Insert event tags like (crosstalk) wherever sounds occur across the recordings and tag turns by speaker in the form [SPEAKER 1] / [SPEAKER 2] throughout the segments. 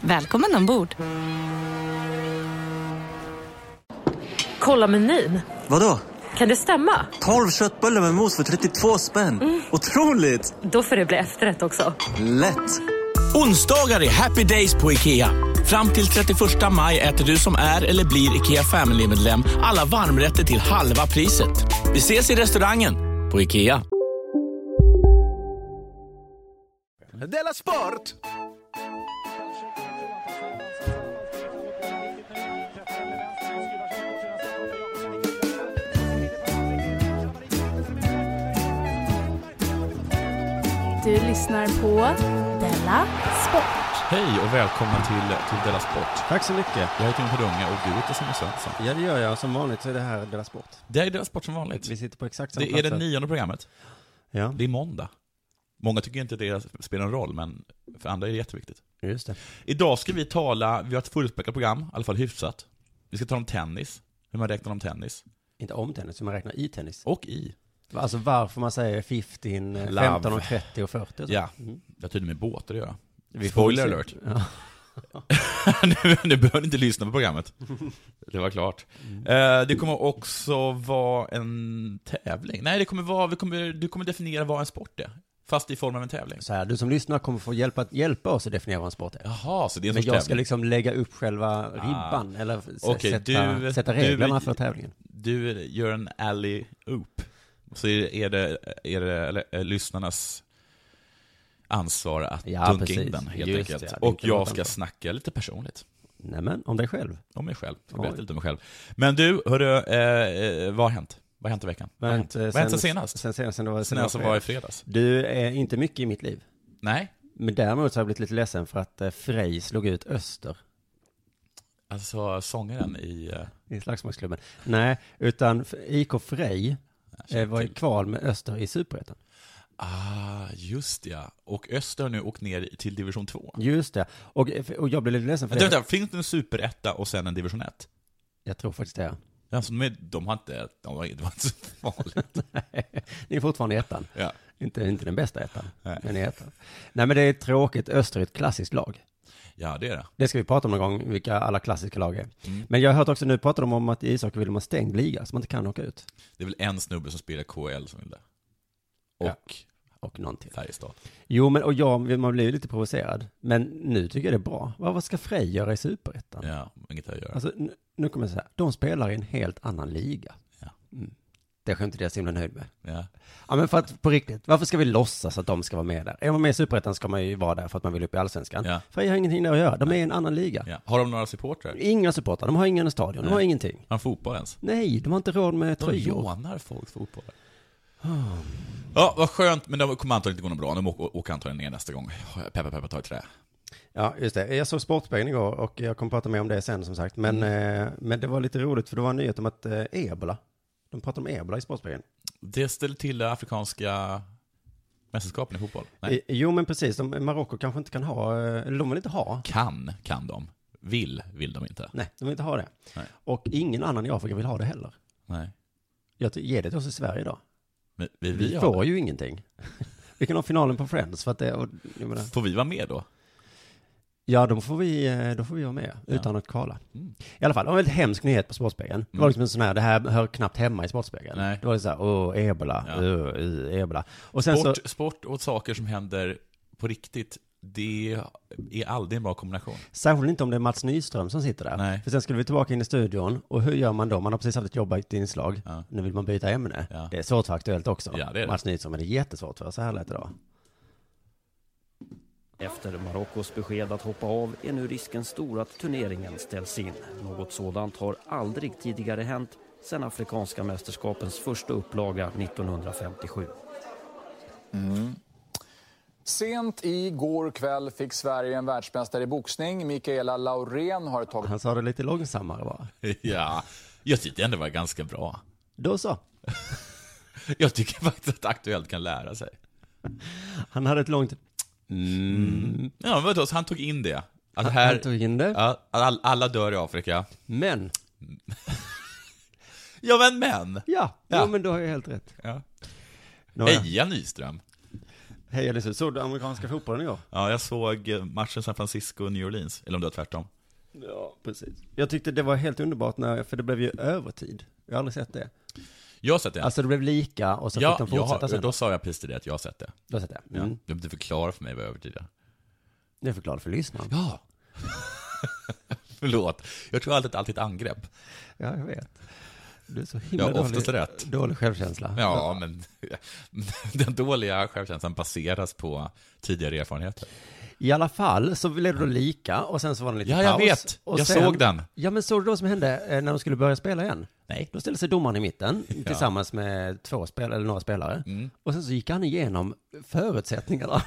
[SPEAKER 1] Välkommen ombord!
[SPEAKER 2] Kolla menyn.
[SPEAKER 3] Vadå?
[SPEAKER 2] Kan det stämma? Mm.
[SPEAKER 3] 12 köttbullar med mos för 32 spänn. Otroligt!
[SPEAKER 2] Då får det bli efterrätt också.
[SPEAKER 3] Lätt!
[SPEAKER 4] Onsdagar är happy days på IKEA. Fram till 31 maj äter du som är eller blir IKEA Family-medlem alla varmrätter till halva priset. Vi ses i restaurangen på IKEA.
[SPEAKER 5] Della Sport!
[SPEAKER 6] Du lyssnar på Della Sport.
[SPEAKER 7] Hej och välkomna till, till Della Sport.
[SPEAKER 8] Tack så mycket.
[SPEAKER 7] Jag heter Jimmy Dunga och du heter Simon Svensson.
[SPEAKER 8] Ja, det gör jag. Som vanligt så är det här Della Sport.
[SPEAKER 7] Det är Della Sport som vanligt.
[SPEAKER 8] Vi sitter på exakt samma
[SPEAKER 7] Det är det
[SPEAKER 8] platser.
[SPEAKER 7] nionde programmet.
[SPEAKER 8] Ja,
[SPEAKER 7] Det är måndag. Många tycker inte det spelar någon roll, men för andra är det jätteviktigt.
[SPEAKER 8] just det.
[SPEAKER 7] Idag ska vi tala, vi har ett fullspäckat program, i alla fall hyfsat. Vi ska tala om tennis, hur man räknar om tennis.
[SPEAKER 8] Inte om tennis, hur man räknar i tennis.
[SPEAKER 7] Och i.
[SPEAKER 8] Alltså varför man säger 15, eh,
[SPEAKER 7] Love.
[SPEAKER 8] 15 och 30 och 40 och så.
[SPEAKER 7] Ja,
[SPEAKER 8] Mm.
[SPEAKER 7] det har tydligen med båtar att göra.
[SPEAKER 8] Vi får
[SPEAKER 7] Spoiler
[SPEAKER 8] se.
[SPEAKER 7] alert.
[SPEAKER 8] Ja.
[SPEAKER 7] (laughs) nu, nu behöver ni inte lyssna på
[SPEAKER 8] (laughs)
[SPEAKER 7] programmet. Det var klart.
[SPEAKER 8] Mm.
[SPEAKER 7] Eh, det kommer också vara en tävling. Nej, det kommer vara, vi kommer, du kommer definiera vad en sport är. Fast i form av en tävling.
[SPEAKER 8] Så här, du som lyssnar kommer få hjälpa, hjälpa oss att definiera vad en sport är.
[SPEAKER 7] Jaha, så det är en
[SPEAKER 8] Men
[SPEAKER 7] sorts
[SPEAKER 8] jag ska
[SPEAKER 7] tävling. Ah.
[SPEAKER 8] liksom lägga upp själva ribban, eller s-
[SPEAKER 7] Okej,
[SPEAKER 8] sätta,
[SPEAKER 7] du-
[SPEAKER 8] sätta
[SPEAKER 7] du-
[SPEAKER 8] reglerna för tävlingen.
[SPEAKER 7] Du gör en alley oop. Så är det, är det eller, eh, lyssnarnas ansvar att
[SPEAKER 8] Ja,
[SPEAKER 7] dunka in
[SPEAKER 8] precis.
[SPEAKER 7] den, helt
[SPEAKER 8] Just
[SPEAKER 7] enkelt.
[SPEAKER 8] det, ja, det är
[SPEAKER 7] Och
[SPEAKER 8] inte
[SPEAKER 7] jag
[SPEAKER 8] något
[SPEAKER 7] ska
[SPEAKER 8] ansvar.
[SPEAKER 7] snacka lite personligt.
[SPEAKER 8] Nej men, om dig själv.
[SPEAKER 7] Om mig själv. Ska
[SPEAKER 8] Oj.
[SPEAKER 7] berätta lite om mig själv. Men du, hörru, eh, eh, vad har hänt? Vad har hänt i veckan? Vad har hänt,
[SPEAKER 8] eh,
[SPEAKER 7] vad har hänt sen senast?
[SPEAKER 8] Sen senast, sen det var,
[SPEAKER 7] Sen jag som var i fredags?
[SPEAKER 8] Du är inte mycket i mitt liv.
[SPEAKER 7] Nej,
[SPEAKER 8] Men däremot så har jag blivit lite ledsen för att eh, Frej slog ut Öster.
[SPEAKER 7] alltså sångaren i... eh,
[SPEAKER 8] i slagsmålsklubben. Nej, utan f- IK Frej eh, var i kval med Öster i Superettan.
[SPEAKER 7] Ah, just ja. Och Öster har nu åkt ner till division 2.
[SPEAKER 8] Just det. Och, eh, och jag blev lite ledsen för
[SPEAKER 7] Vänta,
[SPEAKER 8] det.
[SPEAKER 7] vänta, finns det en superetta och sen en division 1?
[SPEAKER 8] Jag tror faktiskt det.
[SPEAKER 7] Alltså, de, är- de har inte... De var, det var inte så farligt.
[SPEAKER 8] (laughs) (laughs) Ni är fortfarande i ettan.
[SPEAKER 7] Ja.
[SPEAKER 8] Inte, inte den bästa ettan,
[SPEAKER 7] Nej.
[SPEAKER 8] men i ettan. Nej, men det är tråkigt. Öster är ett klassiskt lag.
[SPEAKER 7] ja, det är det.
[SPEAKER 8] Det ska vi prata om någon gång, vilka alla klassiska lag är.
[SPEAKER 7] Mm.
[SPEAKER 8] Men jag har hört också, nu pratar de om att i ishockey vill de ha stängd liga, så man inte kan åka ut.
[SPEAKER 7] Det är väl en snubbe som spelar KL som vill det.
[SPEAKER 8] Ja.
[SPEAKER 7] Och
[SPEAKER 8] Och någon till.
[SPEAKER 7] Färjestad.
[SPEAKER 8] Jo, men och jag, man blir ju lite provocerad. Men nu tycker jag det är bra. Vad, vad ska Frej göra i Superettan?
[SPEAKER 7] Ja, inget att göra.
[SPEAKER 8] Alltså, nu, nu kommer jag säga, de spelar i en helt annan liga.
[SPEAKER 7] Ja.
[SPEAKER 8] Mm. Det skämtade jag så himla nöjd med.
[SPEAKER 7] Ja.
[SPEAKER 8] Ja men för att, på riktigt, varför ska vi låtsas att de ska vara med där? Är man med i Superettan ska man ju vara där för att man vill upp i Allsvenskan.
[SPEAKER 7] Ja.
[SPEAKER 8] För jag har ingenting där att göra, de är i en annan liga.
[SPEAKER 7] Ja. Har de några supportrar? Har
[SPEAKER 8] Inga supportrar, de har ingen stadion, de har ingenting.
[SPEAKER 7] de fotboll ens?
[SPEAKER 8] Nej, de Ah. har inte råd med
[SPEAKER 7] De
[SPEAKER 8] tröjor.
[SPEAKER 7] lånar folks fotboll. Ja, vad skönt, men det kommer antagligen inte gå något bra. De åker, åker antagligen ner nästa gång. Peppa, peppa, ta i trä.
[SPEAKER 8] Ja, just det. Jag såg Sportspegeln igår och jag kommer prata mer om det sen som sagt. Men,
[SPEAKER 7] Mm.
[SPEAKER 8] eh, men det var lite roligt för det var en nyhet om att eh, ebola, de pratar om ebola i Sportspegeln.
[SPEAKER 7] Det ställer till det afrikanska mästerskapen i fotboll. Nej,
[SPEAKER 8] Eh, Jo men precis, de, Marocko kanske inte kan ha, eh, eller de vill inte ha
[SPEAKER 7] kan, kan de. Vill, vill de inte.
[SPEAKER 8] Nej, de vill inte ha det.
[SPEAKER 7] Nej.
[SPEAKER 8] Och ingen annan i Afrika vill ha det heller.
[SPEAKER 7] Nej.
[SPEAKER 8] Jag ty- ger det till oss i Sverige då.
[SPEAKER 7] Men vi,
[SPEAKER 8] Vi,
[SPEAKER 7] vi har
[SPEAKER 8] får ju ingenting. (laughs) Vi kan ha finalen på Friends för att det, och, jag menar,
[SPEAKER 7] Får vi vara med då?
[SPEAKER 8] ja då får vi, eh, då får vi vara med utan att kvala.
[SPEAKER 7] Mm.
[SPEAKER 8] I alla fall, det var en väldigt hemsk nyhet på Sportspegeln. Det var liksom en sån här, det här hör knappt hemma i Sportspegeln.
[SPEAKER 7] Nej.
[SPEAKER 8] Det var liksom så här, åh, ebola,
[SPEAKER 7] Ja.
[SPEAKER 8] uh, uh, ebola. Och sen
[SPEAKER 7] Sport,
[SPEAKER 8] så,
[SPEAKER 7] sport och saker som händer på riktigt, det är aldrig en bra kombination.
[SPEAKER 8] särskilt inte om det är Mats Nyström som sitter där.
[SPEAKER 7] Nej.
[SPEAKER 8] För sen skulle vi tillbaka in i studion, och hur gör man då? Man har precis haft ett jobbigt inslag,
[SPEAKER 7] Ja.
[SPEAKER 8] nu vill man byta ämne.
[SPEAKER 7] Ja.
[SPEAKER 8] Det är svårt för Aktuellt också.
[SPEAKER 7] Ja, det är det.
[SPEAKER 8] Mats Nyström, men det är jättesvårt för, så här lät det då.
[SPEAKER 9] Efter Marockos besked att hoppa av är nu risken stor att turneringen ställs in. Något sådant har aldrig tidigare hänt sedan Afrikanska mästerskapens första upplaga 1957.
[SPEAKER 10] Mm. Sent igår kväll fick Sverige en världsmästare i boxning. Mikaela Laurén har tagit...
[SPEAKER 8] Han sa det lite långsammare bara.
[SPEAKER 7] (laughs) Ja, jag tyckte ändå det var ganska bra.
[SPEAKER 8] Då så.
[SPEAKER 7] Jag tycker (laughs) faktiskt att Aktuellt kan lära sig.
[SPEAKER 8] Han hade ett långt...
[SPEAKER 7] Mm. Ja, men vadå, så han tog in det? Att
[SPEAKER 8] Han-
[SPEAKER 7] här,
[SPEAKER 8] han tog in det.
[SPEAKER 7] Ja, all, alla dör i Afrika.
[SPEAKER 8] Men.
[SPEAKER 7] ja, men men.
[SPEAKER 8] Ja,
[SPEAKER 7] Ja.
[SPEAKER 8] Jo, men du har ju helt rätt.
[SPEAKER 7] Ja.
[SPEAKER 8] Nåja.
[SPEAKER 7] Heja Nyström.
[SPEAKER 8] Hej Elisabeth, såg du amerikanska fotbollen igår?
[SPEAKER 7] Ja, jag såg eh, matchen San Francisco och New Orleans, eller om det var tvärtom.
[SPEAKER 8] Ja, precis. Jag tyckte det var helt underbart, när, för det blev ju övertid. Jag har aldrig sett det.
[SPEAKER 7] Jag har sett det.
[SPEAKER 8] Alltså det blev lika och så
[SPEAKER 7] ja,
[SPEAKER 8] fick de fortsätta
[SPEAKER 7] jag, har-
[SPEAKER 8] sen.
[SPEAKER 7] Då sa jag precis till dig att jag har sett det.
[SPEAKER 8] Du har sett det? Mm.
[SPEAKER 7] Ja. Du, du förklarar för mig vad övertid är.
[SPEAKER 8] Det förklarar för lyssnaren.
[SPEAKER 7] Ja. Förlåt. Jag tror alltid att allt är ett angrepp.
[SPEAKER 8] Ja, jag vet. Du är så
[SPEAKER 7] Jag
[SPEAKER 8] himla
[SPEAKER 7] har oftast
[SPEAKER 8] dålig,
[SPEAKER 7] rätt.
[SPEAKER 8] dålig självkänsla.
[SPEAKER 7] Ja, men (laughs) den dåliga självkänslan baseras på tidigare erfarenheter.
[SPEAKER 8] I alla fall så blev det då lika och sen så var det en liten
[SPEAKER 7] Ja, jag
[SPEAKER 8] paus.
[SPEAKER 7] vet.
[SPEAKER 8] Och
[SPEAKER 7] Jag
[SPEAKER 8] sen,
[SPEAKER 7] såg den.
[SPEAKER 8] Ja, men såg du då som hände eh, när de skulle börja spela igen? Nej. Då ställde sig domaren
[SPEAKER 7] (laughs)
[SPEAKER 8] i mitten tillsammans med två spelare, eller några spelare.
[SPEAKER 7] Mm.
[SPEAKER 8] Och sen så gick han igenom
[SPEAKER 7] (laughs)
[SPEAKER 8] förutsättningarna.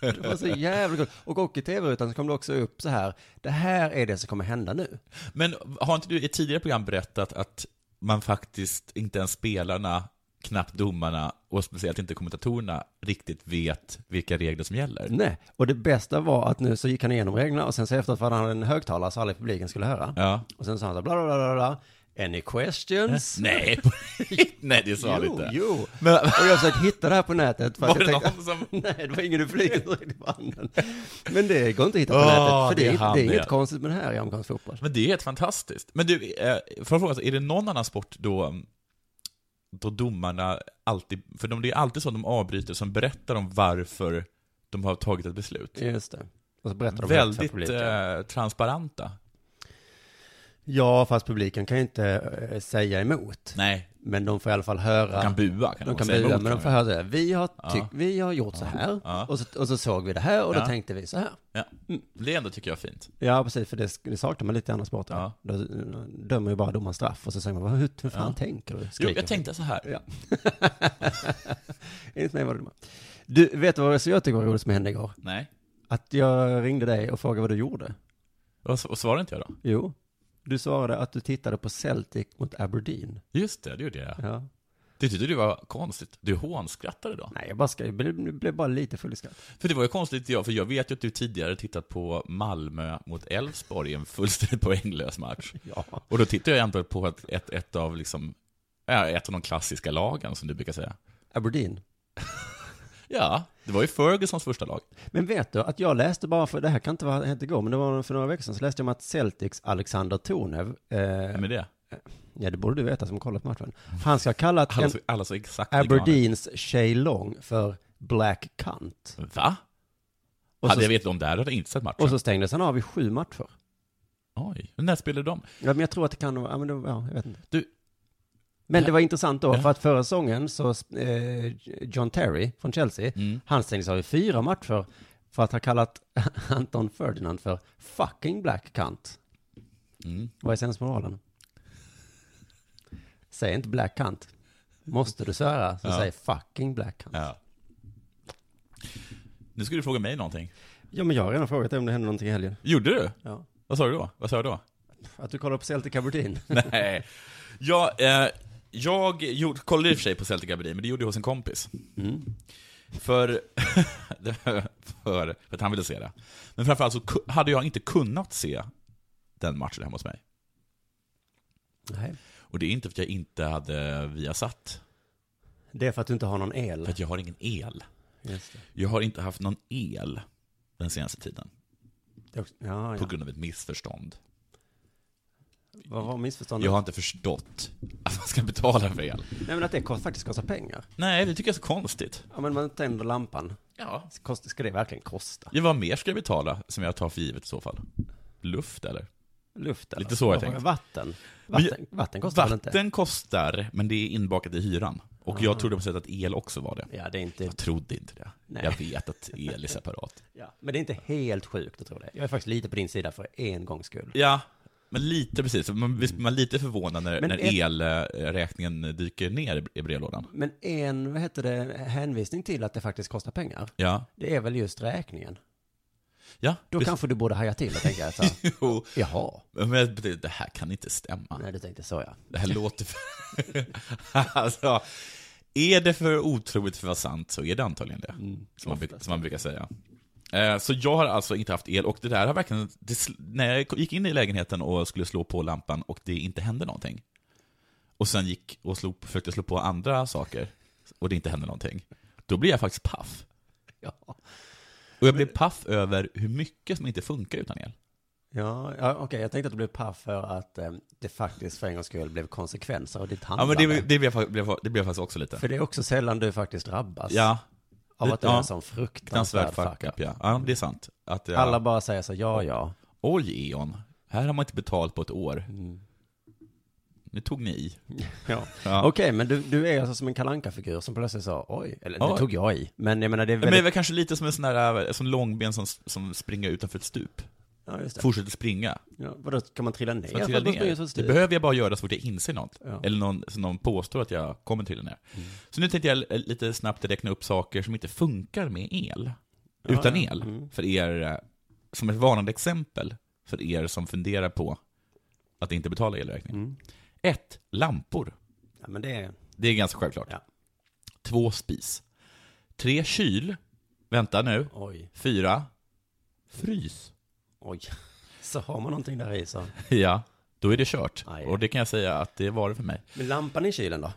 [SPEAKER 8] Det var så jävla kul. Och, och i tv-rutan så kom det också upp så här, det här är det som kommer hända nu.
[SPEAKER 7] Men har inte du i ett tidigare program berättat att man faktiskt inte ens spelarna, knappt domarna och speciellt inte kommentatorerna riktigt vet vilka regler som gäller?
[SPEAKER 8] Nej, och det bästa var att nu så gick han igenom reglerna och sen så efteråt var han en högtalare så alla i publiken skulle höra.
[SPEAKER 7] Ja.
[SPEAKER 8] Och sen sa han så här, bla bla bla bla, bla. Any questions?
[SPEAKER 7] (laughs) Nej, nej det sa han
[SPEAKER 8] jo,
[SPEAKER 7] inte.
[SPEAKER 8] Jo, och jag har försökt hitta det här på nätet. För
[SPEAKER 7] Var
[SPEAKER 8] att jag
[SPEAKER 7] det
[SPEAKER 8] tänkte,
[SPEAKER 7] någon som-
[SPEAKER 8] (laughs) Nej, det var ingen i publiken som ringde på handen. Men det går inte att hitta på
[SPEAKER 7] Åh,
[SPEAKER 8] nätet, för
[SPEAKER 7] Ah, det är
[SPEAKER 8] det är,
[SPEAKER 7] han
[SPEAKER 8] det är
[SPEAKER 7] det.
[SPEAKER 8] inget konstigt med det här i amerikansk fotboll.
[SPEAKER 7] Men det är helt fantastiskt. Men du, eh, får jag fråga, så är det någon annan sport då, då domarna alltid, för de, det är alltid så de avbryter som berättar om varför de har tagit ett beslut.
[SPEAKER 8] Just det. Och så berättar de högt för
[SPEAKER 7] Väldigt
[SPEAKER 8] publiken.
[SPEAKER 7] eh, transparenta.
[SPEAKER 8] Ja, fast publiken kan ju inte eh, säga emot.
[SPEAKER 7] Nej.
[SPEAKER 8] Men de får i alla fall höra.
[SPEAKER 7] De kan bua, kan
[SPEAKER 8] de
[SPEAKER 7] de
[SPEAKER 8] kan
[SPEAKER 7] säga
[SPEAKER 8] bua,
[SPEAKER 7] emot,
[SPEAKER 8] men de
[SPEAKER 7] kan
[SPEAKER 8] får
[SPEAKER 7] de.
[SPEAKER 8] höra så här, vi har,
[SPEAKER 7] Ja.
[SPEAKER 8] tyck, vi har gjort så här,
[SPEAKER 7] Ja.
[SPEAKER 8] och, så, och så såg vi det här, och då
[SPEAKER 7] Ja.
[SPEAKER 8] tänkte vi så här.
[SPEAKER 7] Ja. Det ändå tycker jag är fint.
[SPEAKER 8] Ja, precis, för det, det saknar man lite i andra sporter. Då dömer ju bara domaren straff, och så säger man, "Vad- hur, hur fan
[SPEAKER 7] Ja.
[SPEAKER 8] tänker du?
[SPEAKER 7] Jo,
[SPEAKER 8] Skriker
[SPEAKER 7] jag tänkte så här.
[SPEAKER 8] Ja. (laughs) Enligt mig var det dumma. Du, vet du vad så jag tycker var roligt som hände igår?
[SPEAKER 7] Nej.
[SPEAKER 8] Att jag ringde dig och frågade vad du gjorde.
[SPEAKER 7] Och, s- och svarade inte jag då?
[SPEAKER 8] Jo, du svarade att du tittade på Celtic mot Aberdeen.
[SPEAKER 7] Just det, det gjorde jag.
[SPEAKER 8] Ja.
[SPEAKER 7] Det tyckte du var konstigt. Du hånskrattade då.
[SPEAKER 8] Nej, jag bara ska, jag blev, blev bara lite full i skratt.
[SPEAKER 7] För det var ju konstigt, ja, för jag vet ju att du tidigare tittat på Malmö mot Elfsborg i en fullständigt (laughs) poänglös match.
[SPEAKER 8] Ja.
[SPEAKER 7] Och då tittar jag ändå på ett, ett, ett, av liksom, ja, ett av de klassiska lagen, som du brukar säga.
[SPEAKER 8] Aberdeen.
[SPEAKER 7] Ja, det var ju Fergusons första lag.
[SPEAKER 8] Men vet du, att jag läste bara för, det här kan inte vara hänt igår, men det var för några veckor sedan, så läste jag om att Celtics Alexander Tornev, eh,
[SPEAKER 7] Vem är det?
[SPEAKER 8] ja det borde du veta som har kollat matchen, han ska ha kallat
[SPEAKER 7] Alla
[SPEAKER 8] en,
[SPEAKER 7] så, alla så exakt likadana.
[SPEAKER 8] Aberdeens Shay Long för Black Cunt.
[SPEAKER 7] Va?
[SPEAKER 8] Och
[SPEAKER 7] hade
[SPEAKER 8] så-
[SPEAKER 7] jag vetat om det här hade jag inte sett matchen.
[SPEAKER 8] Och så stängdes han av i sju matcher.
[SPEAKER 7] Oj, när spelade de?
[SPEAKER 8] Ja, men jag tror att det kan vara, ja, men det, ja, jag vet inte.
[SPEAKER 7] Du-
[SPEAKER 8] Men det var intressant då, för att förra säsongen så, eh, John Terry från Chelsea,
[SPEAKER 7] Mm.
[SPEAKER 8] han stängdes av i fyra matcher för att ha kallat (laughs) Anton Ferdinand för fucking black cunt.
[SPEAKER 7] Mm.
[SPEAKER 8] Vad är sensmoralen? Säg inte black cunt. Måste du svära, så
[SPEAKER 7] Ja.
[SPEAKER 8] säg fucking black cunt.
[SPEAKER 7] Ja. Nu ska du fråga mig någonting.
[SPEAKER 8] Ja, men jag har redan frågat dig om det hände någonting i helgen.
[SPEAKER 7] Gjorde du?
[SPEAKER 8] Ja.
[SPEAKER 7] Vad sa du då? Vad sa jag då?
[SPEAKER 8] Att du kollar på Celtic Aberdeen.
[SPEAKER 7] Nej. Jag, eh, jag gjorde, kollade i och för sig på Celtic Aberdeen, men det gjorde jag hos en kompis. För, (laughs) det- för, för att han ville se det. Men framförallt så ku- hade jag inte kunnat se den matchen hemma hos mig.
[SPEAKER 8] Nej.
[SPEAKER 7] Och det är inte för att jag inte hade Viasat,
[SPEAKER 8] Det är för att du inte har någon el.
[SPEAKER 7] för att jag har ingen el.
[SPEAKER 8] Just det.
[SPEAKER 7] Jag har inte haft någon el den senaste tiden,
[SPEAKER 8] Det är också- Ja,
[SPEAKER 7] på
[SPEAKER 8] ja.
[SPEAKER 7] grund av ett missförstånd.
[SPEAKER 8] Vad var missförståndet?
[SPEAKER 7] Jag har inte förstått att man ska betala för el.
[SPEAKER 8] Nej men att det kost, faktiskt kostar pengar.
[SPEAKER 7] Nej, det tycker jag är så konstigt.
[SPEAKER 8] Ja men man tänder lampan.
[SPEAKER 7] Ja.
[SPEAKER 8] Kost, ska det verkligen kosta?
[SPEAKER 7] Ja, vad mer ska jag betala som jag tar för givet i så fall? Luft eller?
[SPEAKER 8] Luft eller?
[SPEAKER 7] Lite så har jag
[SPEAKER 8] Vad-
[SPEAKER 7] tänkt.
[SPEAKER 8] Vatten?
[SPEAKER 7] Men
[SPEAKER 8] Vatten, vatten kostar väl inte? Ah.
[SPEAKER 7] Vatten kostar, men det är inbakat i hyran. Och jag trodde på sätt att el också var det.
[SPEAKER 8] Ja det är inte,
[SPEAKER 7] Jag trodde inte det.
[SPEAKER 8] Nej.
[SPEAKER 7] Jag vet att el är separat.
[SPEAKER 8] (laughs) ja. men det är inte helt sjukt att tro det. Jag är faktiskt lite på din sida för en gångs skull.
[SPEAKER 7] Ja, Men lite precis, man visst blir man lite förvånad när,
[SPEAKER 8] Men
[SPEAKER 7] när
[SPEAKER 8] ett-
[SPEAKER 7] elräkningen dyker ner i- i brevlådan.
[SPEAKER 8] Men en, vad heter det, hänvisning till att det faktiskt kostar pengar.
[SPEAKER 7] Ja.
[SPEAKER 8] Det är väl just räkningen.
[SPEAKER 7] Ja,
[SPEAKER 8] Då
[SPEAKER 7] precis.
[SPEAKER 8] kanske du borde haja till och tänka så här, (laughs)
[SPEAKER 7] (laughs) Jo.
[SPEAKER 8] jaha.
[SPEAKER 7] Men jag tänkte, det här kan inte stämma.
[SPEAKER 8] Nej, du tänkte så ja.
[SPEAKER 7] Det här låter för... (laughs) alltså, är det för otroligt för att vara sant så är det antagligen det. som, man, bruk- som man brukar säga. Eh, Så jag har alltså inte haft el och det där har verkligen, det, sl- när jag gick in i lägenheten och skulle slå på lampan och det inte hände någonting. Och sen gick och slog, försökte slå på andra saker och det inte hände någonting. Då blir jag faktiskt paff. Och jag blev paff över hur mycket som inte funkar utan el.
[SPEAKER 8] Ja, ja okej, jag tänkte att du blev paff för att eh, det faktiskt för en gångs skull blev konsekvenser av ditt
[SPEAKER 7] Ja
[SPEAKER 8] handlande.
[SPEAKER 7] men det, det, blev, jag fa- blev, det blev jag faktiskt också lite.
[SPEAKER 8] För det är också sällan du faktiskt drabbas.
[SPEAKER 7] Ja.
[SPEAKER 8] Av att du är en sån
[SPEAKER 7] fruktansvärd
[SPEAKER 8] fruktansvärd
[SPEAKER 7] fuck
[SPEAKER 8] fuck
[SPEAKER 7] up. Ja. ja, det är sant. Att, ja.
[SPEAKER 8] Alla bara säger så, ja, ja.
[SPEAKER 7] Oj, Eon. Här har man inte betalt på ett år.
[SPEAKER 8] Mm.
[SPEAKER 7] Nu tog ni i.
[SPEAKER 8] Ja. (laughs) Okej, men du, du är alltså som en kalanka figur som plötsligt sa oj, eller
[SPEAKER 7] Ja.
[SPEAKER 8] det tog jag i. Men jag menar det är
[SPEAKER 7] Men det
[SPEAKER 8] väldigt...
[SPEAKER 7] är väl kanske lite som en sån där, som långben som, som springer utanför ett stup.
[SPEAKER 8] Ja, just det.
[SPEAKER 7] Fortsätter springa.
[SPEAKER 8] Ja, vadå, kan man trilla ner?
[SPEAKER 7] Så man
[SPEAKER 8] för att man
[SPEAKER 7] trillar
[SPEAKER 8] springer så
[SPEAKER 7] ner.
[SPEAKER 8] stilt?
[SPEAKER 7] Det behöver jag bara göra så fort jag inser något.
[SPEAKER 8] Ja. Mm.
[SPEAKER 7] Eller någon, så någon påstår att jag kommer trilla ner. Så nu tänkte jag l- lite snabbt räkna upp saker som inte funkar med el.
[SPEAKER 8] Ja,
[SPEAKER 7] utan
[SPEAKER 8] ja. Mm.
[SPEAKER 7] el. För er, eh, som ett varnande exempel för er som funderar på att inte betala elräkningen.
[SPEAKER 8] Mm.
[SPEAKER 7] Ett, lampor.
[SPEAKER 8] Ja, men det är...
[SPEAKER 7] Det är ganska självklart. Två spis. Tre kyl. Vänta nu.
[SPEAKER 8] Oj.
[SPEAKER 7] Fyra. Frys. (laughs)
[SPEAKER 8] Oj. (laughs) Så har man någonting där i så.
[SPEAKER 7] Ja, då är det kört. Och det kan jag säga att det var det för mig.
[SPEAKER 8] Men lampan i kylen då?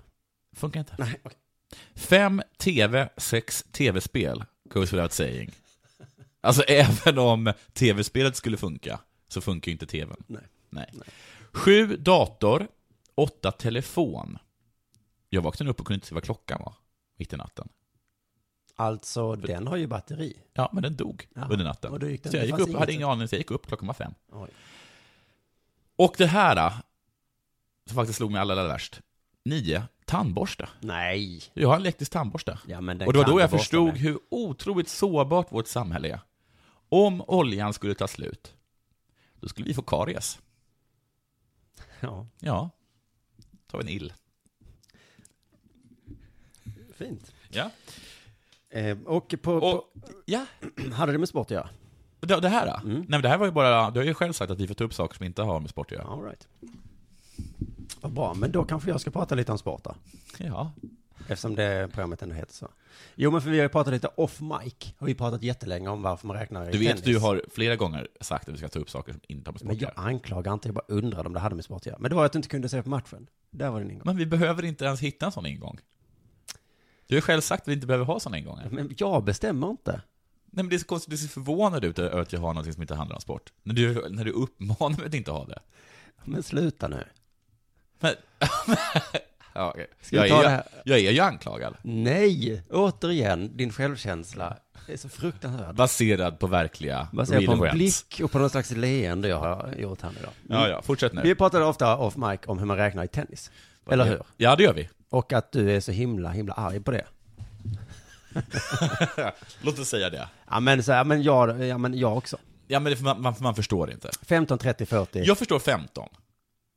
[SPEAKER 7] Funkar inte. Fem TV, sex TV-spel. Goes without saying. Alltså även om TV-spelet skulle funka, så funkar ju inte TVn.
[SPEAKER 8] Nej.
[SPEAKER 7] Sju dator, åtta telefon. Jag vaknade upp och kunde inte se vad klockan var, mitt i natten.
[SPEAKER 8] Alltså, den har ju batteri.
[SPEAKER 7] Ja, men den dog
[SPEAKER 8] Ja,
[SPEAKER 7] under natten.
[SPEAKER 8] och då gick den-
[SPEAKER 7] så jag
[SPEAKER 8] det
[SPEAKER 7] gick
[SPEAKER 8] fanns
[SPEAKER 7] upp, hade
[SPEAKER 8] inget.
[SPEAKER 7] ingen aning, så jag gick upp, klockan var fem.
[SPEAKER 8] Oj.
[SPEAKER 7] Och det här, då, som faktiskt slog mig allra, allra värst. Nio, tandborste.
[SPEAKER 8] Nej.
[SPEAKER 7] Jag har en elektrisk tandborste.
[SPEAKER 8] Ja, men den
[SPEAKER 7] och det var
[SPEAKER 8] kan
[SPEAKER 7] då
[SPEAKER 8] du
[SPEAKER 7] jag
[SPEAKER 8] borsta
[SPEAKER 7] förstod
[SPEAKER 8] med.
[SPEAKER 7] hur otroligt sårbart vårt samhälle är. Om oljan skulle ta slut, då skulle vi få karies.
[SPEAKER 8] Ja,
[SPEAKER 7] Ja, tar vi en ill.
[SPEAKER 8] fint.
[SPEAKER 7] Ja.
[SPEAKER 8] Eh, och på...
[SPEAKER 7] Och-
[SPEAKER 8] på...
[SPEAKER 7] Ja.
[SPEAKER 8] (clears throat) Hade det med sport att göra?
[SPEAKER 7] Det, det här då?
[SPEAKER 8] Mm.
[SPEAKER 7] Nej, men det här var ju bara, du har ju själv sagt att vi får ta upp saker som inte har med sport att göra.
[SPEAKER 8] All right. Vad bra, men då kanske jag ska prata lite om sport då.
[SPEAKER 7] Ja.
[SPEAKER 8] Eftersom det programmet ändå heter så. Jo, men för vi har ju pratat lite off mic. Har vi pratat jättelänge om varför man räknar i
[SPEAKER 7] Du vet,
[SPEAKER 8] tennis.
[SPEAKER 7] du har flera gånger sagt att vi ska ta upp saker som inte har med sport
[SPEAKER 8] Men
[SPEAKER 7] att
[SPEAKER 8] jag
[SPEAKER 7] göra.
[SPEAKER 8] anklagar inte, jag bara undrar om det hade med sport att göra. Men det var att du inte kunde se på matchen. Där var din ingång.
[SPEAKER 7] Men vi behöver inte ens hitta en sån ingång. Du har ju själv sagt att vi inte behöver ha såna ingångar.
[SPEAKER 8] Mm. Men jag bestämmer inte.
[SPEAKER 7] Nej men det är så konstigt, du ser förvånad ut över att jag har något som inte handlar om sport. När du, när du uppmanar mig att inte ha det.
[SPEAKER 8] Men sluta nu.
[SPEAKER 7] Men, (laughs) ja, okej.
[SPEAKER 8] Ska
[SPEAKER 7] jag,
[SPEAKER 8] vi ta
[SPEAKER 7] är,
[SPEAKER 8] det
[SPEAKER 7] jag,
[SPEAKER 8] här?
[SPEAKER 7] jag är ju anklagad.
[SPEAKER 8] Nej! Återigen, din självkänsla är så fruktansvärd.
[SPEAKER 7] Baserad på verkliga
[SPEAKER 8] Baserat
[SPEAKER 7] real
[SPEAKER 8] på en
[SPEAKER 7] events.
[SPEAKER 8] blick och på någon slags leende jag har gjort här nu då.
[SPEAKER 7] Ja, ja, fortsätt
[SPEAKER 8] Vi
[SPEAKER 7] nu.
[SPEAKER 8] pratade ofta off mic om hur man räknar i tennis. Eller hur?
[SPEAKER 7] Ja, det gör vi.
[SPEAKER 8] Och att du är så himla, himla arg på det.
[SPEAKER 7] Låt oss säga det.
[SPEAKER 8] Ja men så här, men jag, ja men jag också.
[SPEAKER 7] Ja, men det, för man, man, man förstår inte.
[SPEAKER 8] 15, 30, 40.
[SPEAKER 7] Jag förstår 15.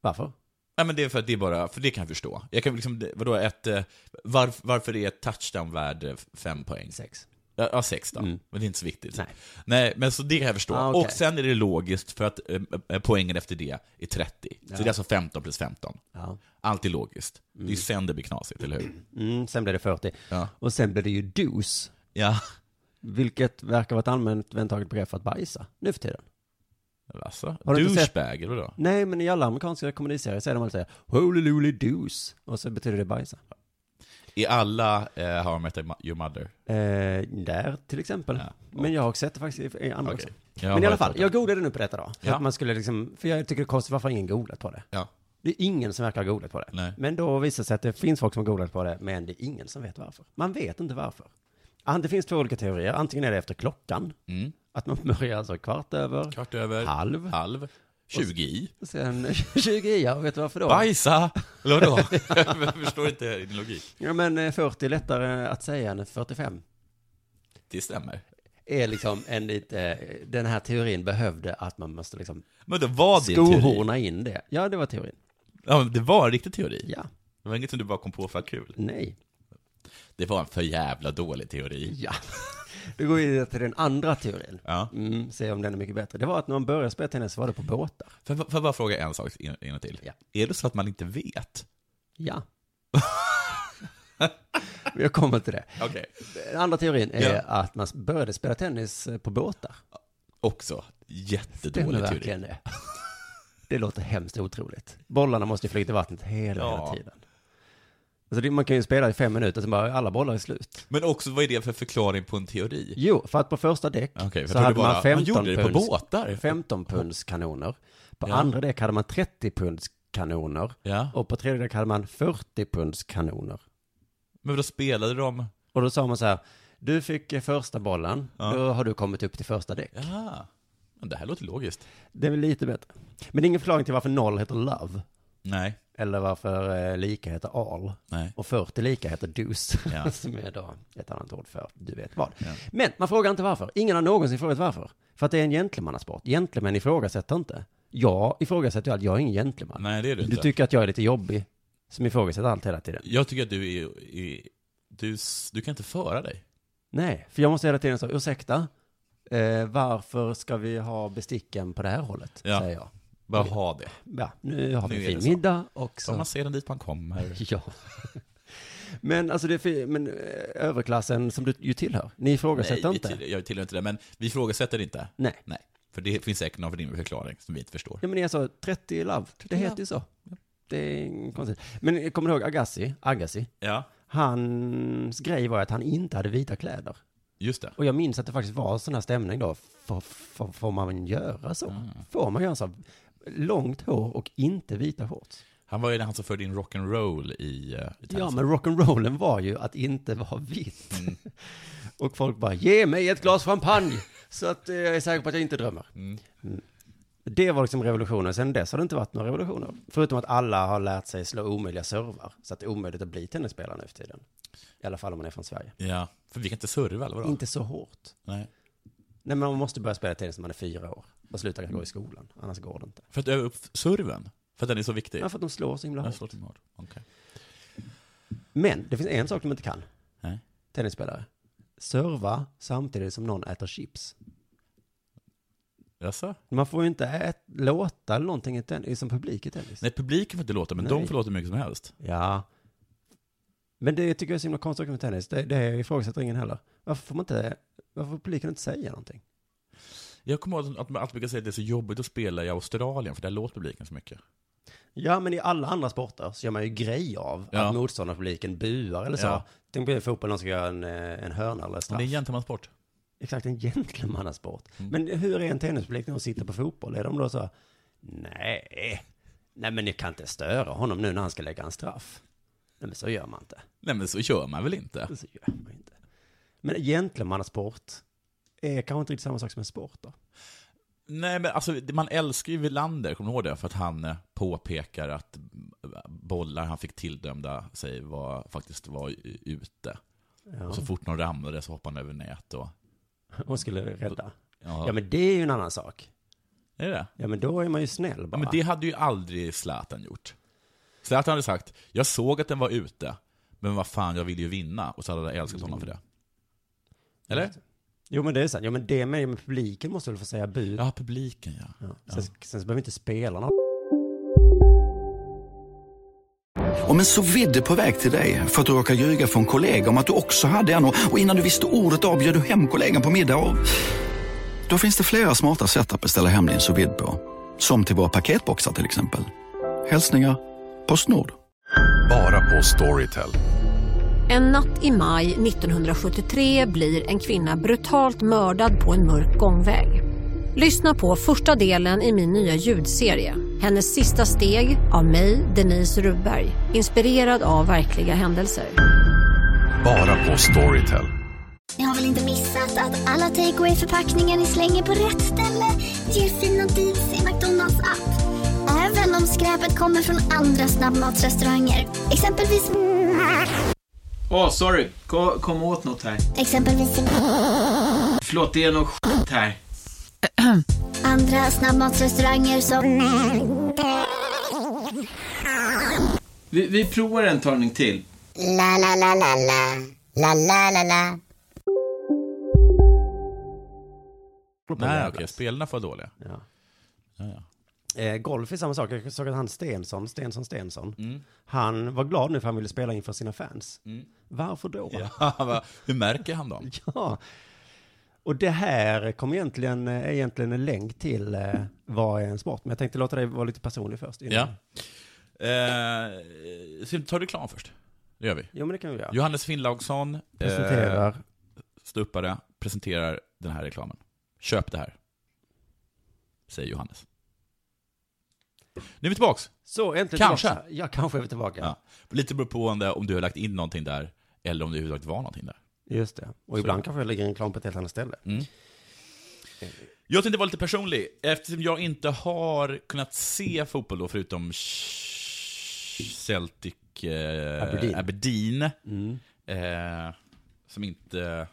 [SPEAKER 8] Varför?
[SPEAKER 7] Nej, men det är för att det är bara, för det kan jag förstå. Jag kan liksom, det- vadå, ett, eh, varf, varför är ett touchdown värd eh, fem poäng?
[SPEAKER 8] Sex.
[SPEAKER 7] Ja, ja, sex då.
[SPEAKER 8] Mm.
[SPEAKER 7] Men det är inte så viktigt.
[SPEAKER 8] Nej.
[SPEAKER 7] Nej, men så det kan jag förstå.
[SPEAKER 8] Ah, okej.
[SPEAKER 7] Och sen är det logiskt för att eh, eh, poängen efter det är 30. Så det är alltså 15 plus 15.
[SPEAKER 8] Ja.
[SPEAKER 7] Allt är logiskt. Det är ju sen det blir knasigt, eller hur?
[SPEAKER 8] (clears throat) Mm, sen blev det 40.
[SPEAKER 7] Ja.
[SPEAKER 8] Och sen blev det ju dos.
[SPEAKER 7] Ja,
[SPEAKER 8] Vilket verkar vara ett allmänt vedertaget begrepp för att bajsa nu för tiden.
[SPEAKER 7] alltså.
[SPEAKER 8] Har du inte sett-
[SPEAKER 7] Douchebag, eller vadå?
[SPEAKER 8] Nej, men i alla amerikanska komediserier säger de alltid såhär, holy loly dos. Och så betyder det bajsa.
[SPEAKER 7] I alla eh, How I Met Your Mother.
[SPEAKER 8] Eh, där till exempel.
[SPEAKER 7] Ja.
[SPEAKER 8] Men jag har också sett det faktiskt i i andra
[SPEAKER 7] Okej.
[SPEAKER 8] också.
[SPEAKER 7] Jag
[SPEAKER 8] men
[SPEAKER 7] har
[SPEAKER 8] i alla fall,
[SPEAKER 7] hört det.
[SPEAKER 8] jag googlade nu på detta då. För
[SPEAKER 7] Ja.
[SPEAKER 8] att man skulle liksom, för jag tycker det är konstigt varför ingen googlat på det.
[SPEAKER 7] Ja.
[SPEAKER 8] Det är ingen som verkar ha googlat på det.
[SPEAKER 7] Nej.
[SPEAKER 8] Men då visar det sig att det finns folk som har googlat på det, men det är ingen som vet varför. Man vet inte varför. An- Det finns två olika teorier. Antingen är det efter klockan,
[SPEAKER 7] Mm.
[SPEAKER 8] att man (laughs) börjar alltså kvart över,
[SPEAKER 7] Kvart över.
[SPEAKER 8] halv,
[SPEAKER 7] Halv. 20 i.
[SPEAKER 8] sen (laughs) 20 i, ja, vet du varför då?
[SPEAKER 7] Bajsa! Eller
[SPEAKER 8] (laughs)
[SPEAKER 7] vadå? jag förstår inte din logik.
[SPEAKER 8] Ja, men eh, 40 är lättare att säga än 45.
[SPEAKER 7] Det stämmer.
[SPEAKER 8] är liksom en lite, eh, den här teorin behövde att man måste liksom
[SPEAKER 7] Men det var din teori.
[SPEAKER 8] skohorna in det. Ja, det var teorin.
[SPEAKER 7] Ja, men det var en riktig teori?
[SPEAKER 8] Ja.
[SPEAKER 7] Det var inget som du bara kom på för att kul?
[SPEAKER 8] Nej.
[SPEAKER 7] Det var en för jävla dålig teori.
[SPEAKER 8] Ja. (laughs) Då går vi vidare till den andra teorin.
[SPEAKER 7] Ja.
[SPEAKER 8] Mm, se om den är mycket bättre. Det var att när man började spela tennis så var det på båtar.
[SPEAKER 7] Får jag, får jag bara fråga en sak in- innan till? Är det så att man inte vet?
[SPEAKER 8] Ja. (laughs) Jag kommer till det.
[SPEAKER 7] Okej.
[SPEAKER 8] Den andra teorin är
[SPEAKER 7] Ja.
[SPEAKER 8] att man började spela tennis på båtar.
[SPEAKER 7] Också.
[SPEAKER 8] Stämmer
[SPEAKER 7] Jättedålig teori.
[SPEAKER 8] verkligen det? Det låter hemskt otroligt. Bollarna måste ju flyga i vattnet hela,
[SPEAKER 7] Ja.
[SPEAKER 8] hela tiden. Alltså det, man kan ju spela i fem minuter, sen bara alla bollar är slut.
[SPEAKER 7] Men också, vad är det för förklaring på en teori?
[SPEAKER 8] Jo, för att på första däck
[SPEAKER 7] Okej, jag
[SPEAKER 8] så
[SPEAKER 7] trodde
[SPEAKER 8] hade
[SPEAKER 7] bara-
[SPEAKER 8] man 15
[SPEAKER 7] man gjorde det på
[SPEAKER 8] punds-
[SPEAKER 7] båtar.
[SPEAKER 8] 15 punds kanoner. På
[SPEAKER 7] Ja.
[SPEAKER 8] andra däck hade man 30 punds kanoner.
[SPEAKER 7] Ja.
[SPEAKER 8] Och på tredje däck hade man 40 punds kanoner.
[SPEAKER 7] Men då spelade de...
[SPEAKER 8] Och då sa man så här, du fick eh, första bollen, då har du kommit upp till första däck.
[SPEAKER 7] Ja. Men det här låter logiskt.
[SPEAKER 8] Det är väl lite bättre. Men det är ingen förklaring till varför noll heter love.
[SPEAKER 7] Nej.
[SPEAKER 8] Eller varför eh, lika heter all.
[SPEAKER 7] Nej.
[SPEAKER 8] Och 40 lika heter deuce.
[SPEAKER 7] Ja.
[SPEAKER 8] (laughs) som är då ett annat ord för du vet vad. Men man frågar inte varför. Ingen har någonsin frågat varför. För att det är en gentlemannasport. Gentlemän ifrågasätter inte. Jag ifrågasätter ju allt. Jag är ingen gentleman.
[SPEAKER 7] Nej, det är du
[SPEAKER 8] Du
[SPEAKER 7] inte.
[SPEAKER 8] tycker att jag är lite jobbig. Som ifrågasätter allt hela tiden.
[SPEAKER 7] Jag tycker att du är... är du, s- du kan inte föra dig.
[SPEAKER 8] Nej, för jag måste hela tiden säga ursäkta. Eh, varför ska vi ha besticken på det här hållet?
[SPEAKER 7] Ja.
[SPEAKER 8] Säger jag.
[SPEAKER 7] Bara ha det.
[SPEAKER 8] Ja, nu har vi
[SPEAKER 7] Nu är
[SPEAKER 8] en
[SPEAKER 7] det
[SPEAKER 8] fin
[SPEAKER 7] så.
[SPEAKER 8] middag och så...
[SPEAKER 7] Ja, man ser den dit man kommer.
[SPEAKER 8] (laughs) Ja. Men alltså det är fi- men eh, överklassen som du ju tillhör, ni ifrågasätter
[SPEAKER 7] Nej, vi
[SPEAKER 8] inte.
[SPEAKER 7] till- jag tillhör inte det, men vi ifrågasätter inte.
[SPEAKER 8] Nej.
[SPEAKER 7] Nej. För det finns säkert någon rimlig förklaring som vi inte förstår.
[SPEAKER 8] Ja men det är alltså 30 love, det heter ju så. Det är inget konstigt. Men jag kommer du ihåg Agassi, Agassi?
[SPEAKER 7] Ja,
[SPEAKER 8] Hans grej var att han inte hade vita kläder.
[SPEAKER 7] just det.
[SPEAKER 8] Och jag minns att det faktiskt var sån här stämning då. Får, får, får man göra så? Får man göra så? Långt hår och inte vita shorts.
[SPEAKER 7] Han var ju den han som förde in rock'n'roll i, eh, i
[SPEAKER 8] Ja,
[SPEAKER 7] tennis.
[SPEAKER 8] men rock'n'rollen var ju att inte vara vitt. (laughs) Och folk bara, ge mig ett glas champagne så att eh, jag är säker på att jag inte drömmer. Mm. Det var liksom revolutionen. Sen dess har det inte varit några revolutioner. Förutom att alla har lärt sig slå omöjliga servar. Så att det är omöjligt att bli tennisspelare nu för tiden. I alla fall om man är från Sverige.
[SPEAKER 7] Ja, för vi kan inte serva eller vadå?
[SPEAKER 8] Inte så hårt.
[SPEAKER 7] Nej.
[SPEAKER 8] Nej, men man måste börja spela tennis när man är fyra år. Och sluta gå i skolan, annars går det inte.
[SPEAKER 7] För att öva upp serven? För att den är så viktig?
[SPEAKER 8] Ja, för att de slår så himla
[SPEAKER 7] Den
[SPEAKER 8] hårt.
[SPEAKER 7] slår till hårt. Okej.
[SPEAKER 8] Men det finns en sak de inte kan,
[SPEAKER 7] Nej.
[SPEAKER 8] tennisspelare. Serva samtidigt som någon äter chips.
[SPEAKER 7] Jaså?
[SPEAKER 8] Man får ju inte ät, låta eller någonting i tennis, som publik i tennis.
[SPEAKER 7] Nej, publiken får inte låta, men de
[SPEAKER 8] Nej.
[SPEAKER 7] får låta hur mycket som helst.
[SPEAKER 8] Ja. Men det tycker jag är så himla konstigt med tennis. Det, det ifrågasätter ingen heller. Varför får man inte, varför får publiken inte säga någonting?
[SPEAKER 7] Jag kommer ihåg att man alltid brukar säga att det är så jobbigt att spela i Australien, för där låter publiken så mycket.
[SPEAKER 8] Ja, men i alla andra sporter så gör man ju grej av
[SPEAKER 7] Ja.
[SPEAKER 8] att motståndarpubliken buar eller så.
[SPEAKER 7] Ja.
[SPEAKER 8] Tänk på i fotboll, någon ska göra en, eh, en hörna eller
[SPEAKER 7] Men
[SPEAKER 8] straff.
[SPEAKER 7] det är en gentlemansport.
[SPEAKER 8] Exakt, en gentlemannasport.
[SPEAKER 7] Mm.
[SPEAKER 8] Men hur är en tennispublik när de sitter på fotboll? Är de då så här, nej, nej men ni kan inte störa honom nu när han ska lägga en straff. Nej men så gör man inte.
[SPEAKER 7] Nej, men så kör man väl inte?
[SPEAKER 8] Så gör man inte. Men gentlemannasport är kanske inte riktigt samma sak som en sport då.
[SPEAKER 7] Nej, men alltså, man älskar ju Wilander, kommer du ihåg det? För att han eh, påpekar att eh, bollar han fick tilldömda sig var, faktiskt var u- ute.
[SPEAKER 8] Ja.
[SPEAKER 7] Och så fort någon ramlade så hoppade han över nät och...
[SPEAKER 8] (laughs) Hon skulle rädda.
[SPEAKER 7] Ja,
[SPEAKER 8] Ja men det är ju en annan sak.
[SPEAKER 7] är det
[SPEAKER 8] Ja men då är man ju snäll
[SPEAKER 7] ja,
[SPEAKER 8] bara.
[SPEAKER 7] men det hade ju aldrig Zlatan gjort. Zlatan hade sagt, jag såg att den var ute, men vad fan, jag ville ju vinna. Och så hade jag älskat honom för det. Eller?
[SPEAKER 8] Jo men det är sant. Jo men det med, men publiken måste väl få säga bu.
[SPEAKER 7] Ja, publiken ja.
[SPEAKER 8] Sen, sen så behöver inte spelarna
[SPEAKER 11] Om en så vidde på väg till dig för att du råkar ljuga från kollega om att du också hade en och och innan du visste ordet av bjöd du hem kollegan på middag och... Då finns det flera smarta sätt att beställa hem din sous vide på. Som till våra paketboxar till exempel. Hälsningar Postnord.
[SPEAKER 12] Bara på Storytel.
[SPEAKER 13] En natt i maj 1973 blir en kvinna brutalt mördad på en mörk gångväg. Lyssna på första delen i min nya ljudserie. Hennes sista steg av mig, Denise Rubberg. Inspirerad av verkliga händelser.
[SPEAKER 12] Bara på Storytel.
[SPEAKER 14] Ni har väl inte missat att alla takeaway förpackningar ni slänger på rätt ställe ger fina deals i McDonalds app. Även om skräpet kommer från andra snabbmatsrestauranger. Exempelvis...
[SPEAKER 15] Åh, sorry. Kom, kom åt något här.
[SPEAKER 14] Exempelvis...
[SPEAKER 15] Förlåt, det är något skit här.
[SPEAKER 14] Andra snabbmatsrestauranger som...
[SPEAKER 15] Vi, vi provar en talning till.
[SPEAKER 16] La la la la la. La la la la.
[SPEAKER 7] Nej, okej. Spelarna får dåliga.
[SPEAKER 8] Ja. Eh, golf är samma sak. Jag såg att han Stensson, Stensson, Stensson,
[SPEAKER 7] Mm.
[SPEAKER 8] han var glad nu för han ville spela inför sina fans. Varför då?
[SPEAKER 7] (laughs) Ja, hur märker han dem?
[SPEAKER 8] (laughs) ja. Och det här kom egentligen, är egentligen en länk till eh, vad är en sport? Men jag tänkte låta dig vara lite personlig först. innan.
[SPEAKER 7] Ja. Eh, ska vi ta reklam först? Det gör vi.
[SPEAKER 8] Jo, men det kan vi göra.
[SPEAKER 7] Johannes Finnlaugsson
[SPEAKER 8] Presenterar.
[SPEAKER 7] Eh, ståuppare, presenterar den här reklamen. Köp det här. Säger Johannes. Nu är vi tillbaks.
[SPEAKER 8] Så, äntligen
[SPEAKER 7] Kanske.
[SPEAKER 8] tillbaka. Ja, kanske är vi tillbaka.
[SPEAKER 7] Ja. Lite beroende om du har lagt in någonting där, eller om det överhuvudtaget var någonting där.
[SPEAKER 8] Just det. Och
[SPEAKER 7] Så.
[SPEAKER 8] ibland kanske jag lägger en reklam på ett helt annat ställe.
[SPEAKER 7] Jag tänkte vara lite personlig, eftersom jag inte har kunnat se fotboll då, förutom Ch- Celtic eh,
[SPEAKER 8] Aberdeen.
[SPEAKER 7] Aberdeen, eh, som inte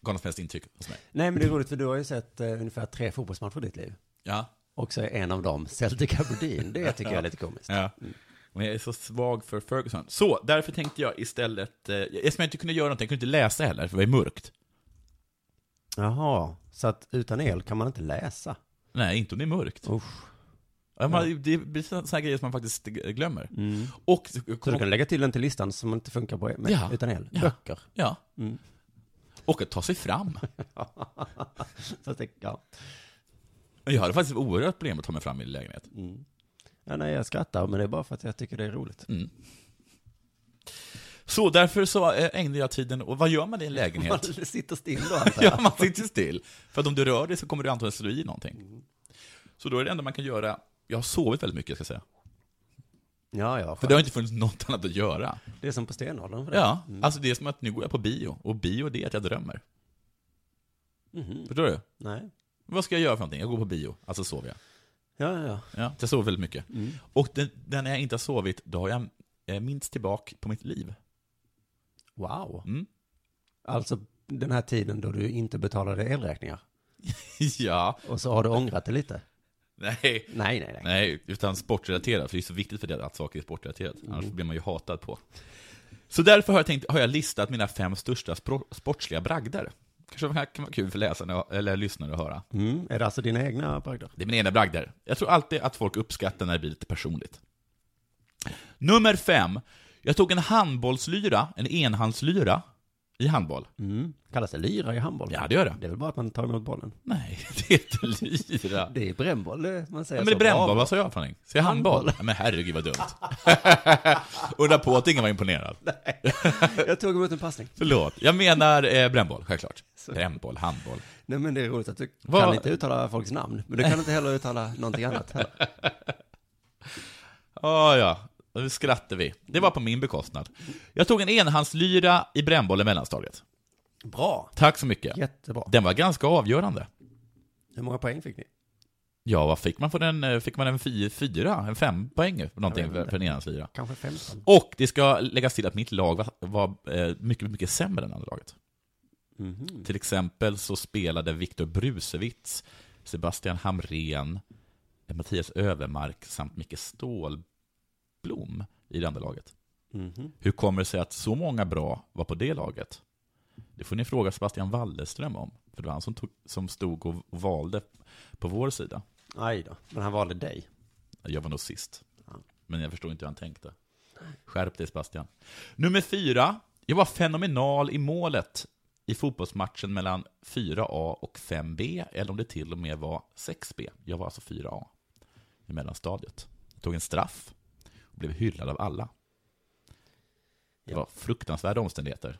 [SPEAKER 7] gav något som helst intryck hos mig.
[SPEAKER 8] Nej, men det är roligt för du har ju sett eh, ungefär tre fotbollsmatcher i ditt liv.
[SPEAKER 7] Ja.
[SPEAKER 8] Och så är en av dem Celtic Aberdeen. Det tycker jag är lite komiskt.
[SPEAKER 7] Ja. Men jag är så svag för Ferguson. Så, därför tänkte jag istället, eh, eftersom jag inte kunde göra någonting, jag kunde inte läsa heller, för det var ju mörkt.
[SPEAKER 8] Jaha, så att utan el kan man inte läsa?
[SPEAKER 7] Nej, inte om det är mörkt. Ja, man, Det blir sådana grejer som man faktiskt glömmer. Och,
[SPEAKER 8] Mm. Så du kan lägga till den till listan som inte funkar på, e- med,
[SPEAKER 7] Ja.
[SPEAKER 8] utan el?
[SPEAKER 7] Ja.
[SPEAKER 8] Böcker?
[SPEAKER 7] Ja.
[SPEAKER 8] Mm.
[SPEAKER 7] Och att ta sig fram.
[SPEAKER 8] (laughs) så att det, ja.
[SPEAKER 7] Jag hade faktiskt oerhört problem att ta mig fram i min lägenhet.
[SPEAKER 8] ja, nej jag skrattar, men det är bara för att jag tycker det är roligt.
[SPEAKER 7] Så därför så eh, ägnade jag tiden, och vad gör man i en lägenhet?
[SPEAKER 8] (laughs) Man sitter still då, alltså. antar jag.
[SPEAKER 7] (laughs) Ja, man sitter still. För att om du rör dig så kommer du antagligen slå i
[SPEAKER 8] Mm.
[SPEAKER 7] någonting. Så då är det enda man kan göra, jag har sovit väldigt mycket ska jag säga.
[SPEAKER 8] Ja, ja.
[SPEAKER 7] För det har inte funnits något annat att göra.
[SPEAKER 8] Det är som på stenåldern för dig.
[SPEAKER 7] Ja,
[SPEAKER 8] Mm.
[SPEAKER 7] alltså det är som att nu går jag på bio, och bio det är att jag drömmer.
[SPEAKER 8] Mhm.
[SPEAKER 7] Förstår du?
[SPEAKER 8] Nej.
[SPEAKER 7] Vad ska jag göra för någonting? Jag går på bio, alltså sover jag.
[SPEAKER 8] Ja, ja, ja.
[SPEAKER 7] Ja, jag sover väldigt mycket.
[SPEAKER 8] Mm.
[SPEAKER 7] Och den, den när jag inte har sovit, då har jag eh, minst tillbaka på mitt liv. (laughs)
[SPEAKER 8] Wow.
[SPEAKER 7] Mm.
[SPEAKER 8] Alltså den här tiden då du inte betalade elräkningar.
[SPEAKER 7] ja.
[SPEAKER 8] Och så har du ångrat det lite.
[SPEAKER 7] Nej. Nej,
[SPEAKER 8] nej, nej.
[SPEAKER 7] utan sportrelaterat, för det är så viktigt för det att saker är sportrelaterat, annars
[SPEAKER 8] Mm.
[SPEAKER 7] blir man ju hatad på. Så därför har jag, tänkt, har jag listat mina fem största spro- sportsliga bragder. Kanske det här kan vara kul för läsarna, eller lyssnare att höra.
[SPEAKER 8] Mm. Är det alltså dina egna bragder?
[SPEAKER 7] Det är mina egna bragder. Jag tror alltid att folk uppskattar när det blir lite personligt. Nummer fem. Jag tog en handbollslyra, en enhandslyra, i handboll.
[SPEAKER 8] Mm. Kallas det lyra i handboll?
[SPEAKER 7] Ja, det gör det.
[SPEAKER 8] Det är väl bara att man tar emot bollen?
[SPEAKER 7] Nej, (laughs) det heter lyra.
[SPEAKER 8] Det är brännboll det man säger.
[SPEAKER 7] Ja, men det är
[SPEAKER 8] så.
[SPEAKER 7] brännboll, vad sa jag för någonting? Säger jag handboll? Ja, men herregud (laughs) vad dumt. Undra på att ingen var imponerad.
[SPEAKER 8] Jag tog emot en passning.
[SPEAKER 7] Förlåt, jag menar eh, brännboll, självklart. Brännboll, handboll.
[SPEAKER 8] Nej men det är roligt att du
[SPEAKER 7] Vad-
[SPEAKER 8] kan inte uttala folks namn. Men du kan inte heller uttala någonting annat heller.
[SPEAKER 7] Ah, ja, nu skrattar vi. Det var på min bekostnad. Jag tog en enhandslyra i brännboll i mellanstadiet.
[SPEAKER 8] (laughs) Bra.
[SPEAKER 7] Tack så mycket.
[SPEAKER 8] Jättebra.
[SPEAKER 7] Den var ganska avgörande.
[SPEAKER 8] Hur många poäng fick ni?
[SPEAKER 7] Ja, vad fick man för den? eh, Fick man en fy- fyra, en fem poäng någonting
[SPEAKER 8] Jag vet
[SPEAKER 7] för,
[SPEAKER 8] inte.
[SPEAKER 7] för en enhandslyra?
[SPEAKER 8] Kanske 15.
[SPEAKER 7] Och det ska läggas till att mitt lag var, var eh, mycket, mycket sämre än andra laget.
[SPEAKER 8] Mhm.
[SPEAKER 7] Till exempel så spelade Viktor Brusewitz, Sebastian Hamrén, Mattias Övermark samt Micke Stålblom i det andra laget.
[SPEAKER 8] Mhm.
[SPEAKER 7] Hur kommer det sig att så många bra var på det laget? Det får ni fråga Sebastian Wallerström om, för det var han som, tog, som stod och och valde på vår sida.
[SPEAKER 8] Aj då. Men han valde dig.
[SPEAKER 7] Jag var nog sist. Men jag förstod inte hur han tänkte. Skärp dig Sebastian. Nummer fyra. Jag var fenomenal i målet i fotbollsmatchen mellan 4A och 5B, eller om det till och med var 6B. Jag var alltså 4A i mellanstadiet. Jag tog en straff och blev hyllad av alla. Det var fruktansvärda omständigheter.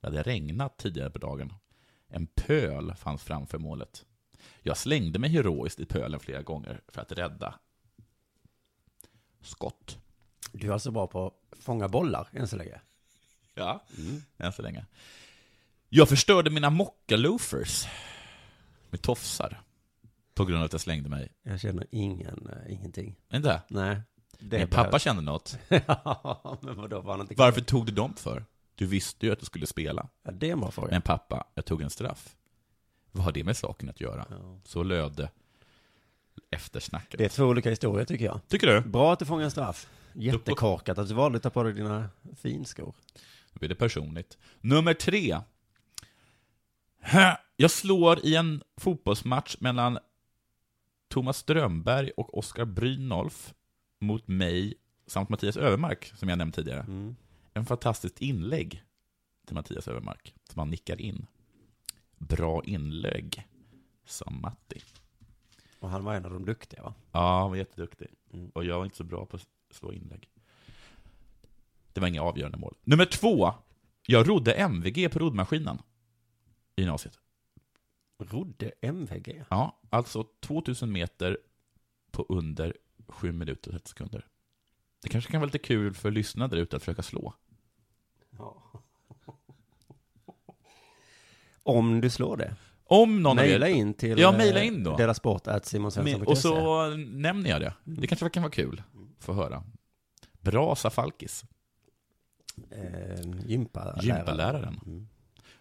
[SPEAKER 7] Det hade regnat tidigare på dagen. En pöl fanns framför målet. Jag slängde mig heroiskt i pölen flera gånger för att rädda skott.
[SPEAKER 8] Du är alltså bra på att fånga bollar än så länge.
[SPEAKER 7] Ja, Mm. än så länge. Jag förstörde mina mockaloafers med tofsar. På grund av att jag slängde mig.
[SPEAKER 8] Jag känner ingen, eh, ingenting.
[SPEAKER 7] Inte?
[SPEAKER 8] Nej.
[SPEAKER 7] Min pappa kände något.
[SPEAKER 8] (laughs) ja, men vadå, var han inte
[SPEAKER 7] Varför tog du dem för? Du visste ju att du skulle spela.
[SPEAKER 8] Ja, det är en bra fråga.
[SPEAKER 7] Men pappa, jag tog en straff. Vad har det med saken att göra? Så löd det eftersnacket.
[SPEAKER 8] Det är två olika historier tycker jag.
[SPEAKER 7] Tycker du?
[SPEAKER 8] Bra att du fångar en straff. Jättekorkat att du valde att ta på dig dina finskor.
[SPEAKER 7] Nu blir det personligt. Nummer tre. Hä? Jag slår i en fotbollsmatch mellan Thomas Strömberg och Oskar Brynolf mot mig samt Mattias Övermark, som jag nämnde tidigare. En fantastiskt inlägg till Mattias Övermark, som han nickar in. Bra inlägg, sa Matti.
[SPEAKER 8] Och han var en av de duktiga va?
[SPEAKER 7] Ja, han var jätteduktig. Och jag var inte så bra på att slå inlägg. Det var inga avgörande mål. Nummer två. Jag rodde MVG på roddmaskinen i gymnasiet.
[SPEAKER 8] Rodde MVG?
[SPEAKER 7] Ja, alltså 2000 meter på under 7 minuter och 30 sekunder. Det kanske kan vara lite kul för lyssnare där ute att försöka slå.
[SPEAKER 8] Om du slår det.
[SPEAKER 7] Om någon av er-
[SPEAKER 8] Maila in till...
[SPEAKER 7] Ja, mejla in då.
[SPEAKER 8] Dela sport at simonsvensson.se.
[SPEAKER 7] Men- Och så nämner jag Mm. det. Det kanske kan vara kul att få höra. Bra Safalkis.
[SPEAKER 8] Eh, gympaläraren.
[SPEAKER 7] Gympaläraren.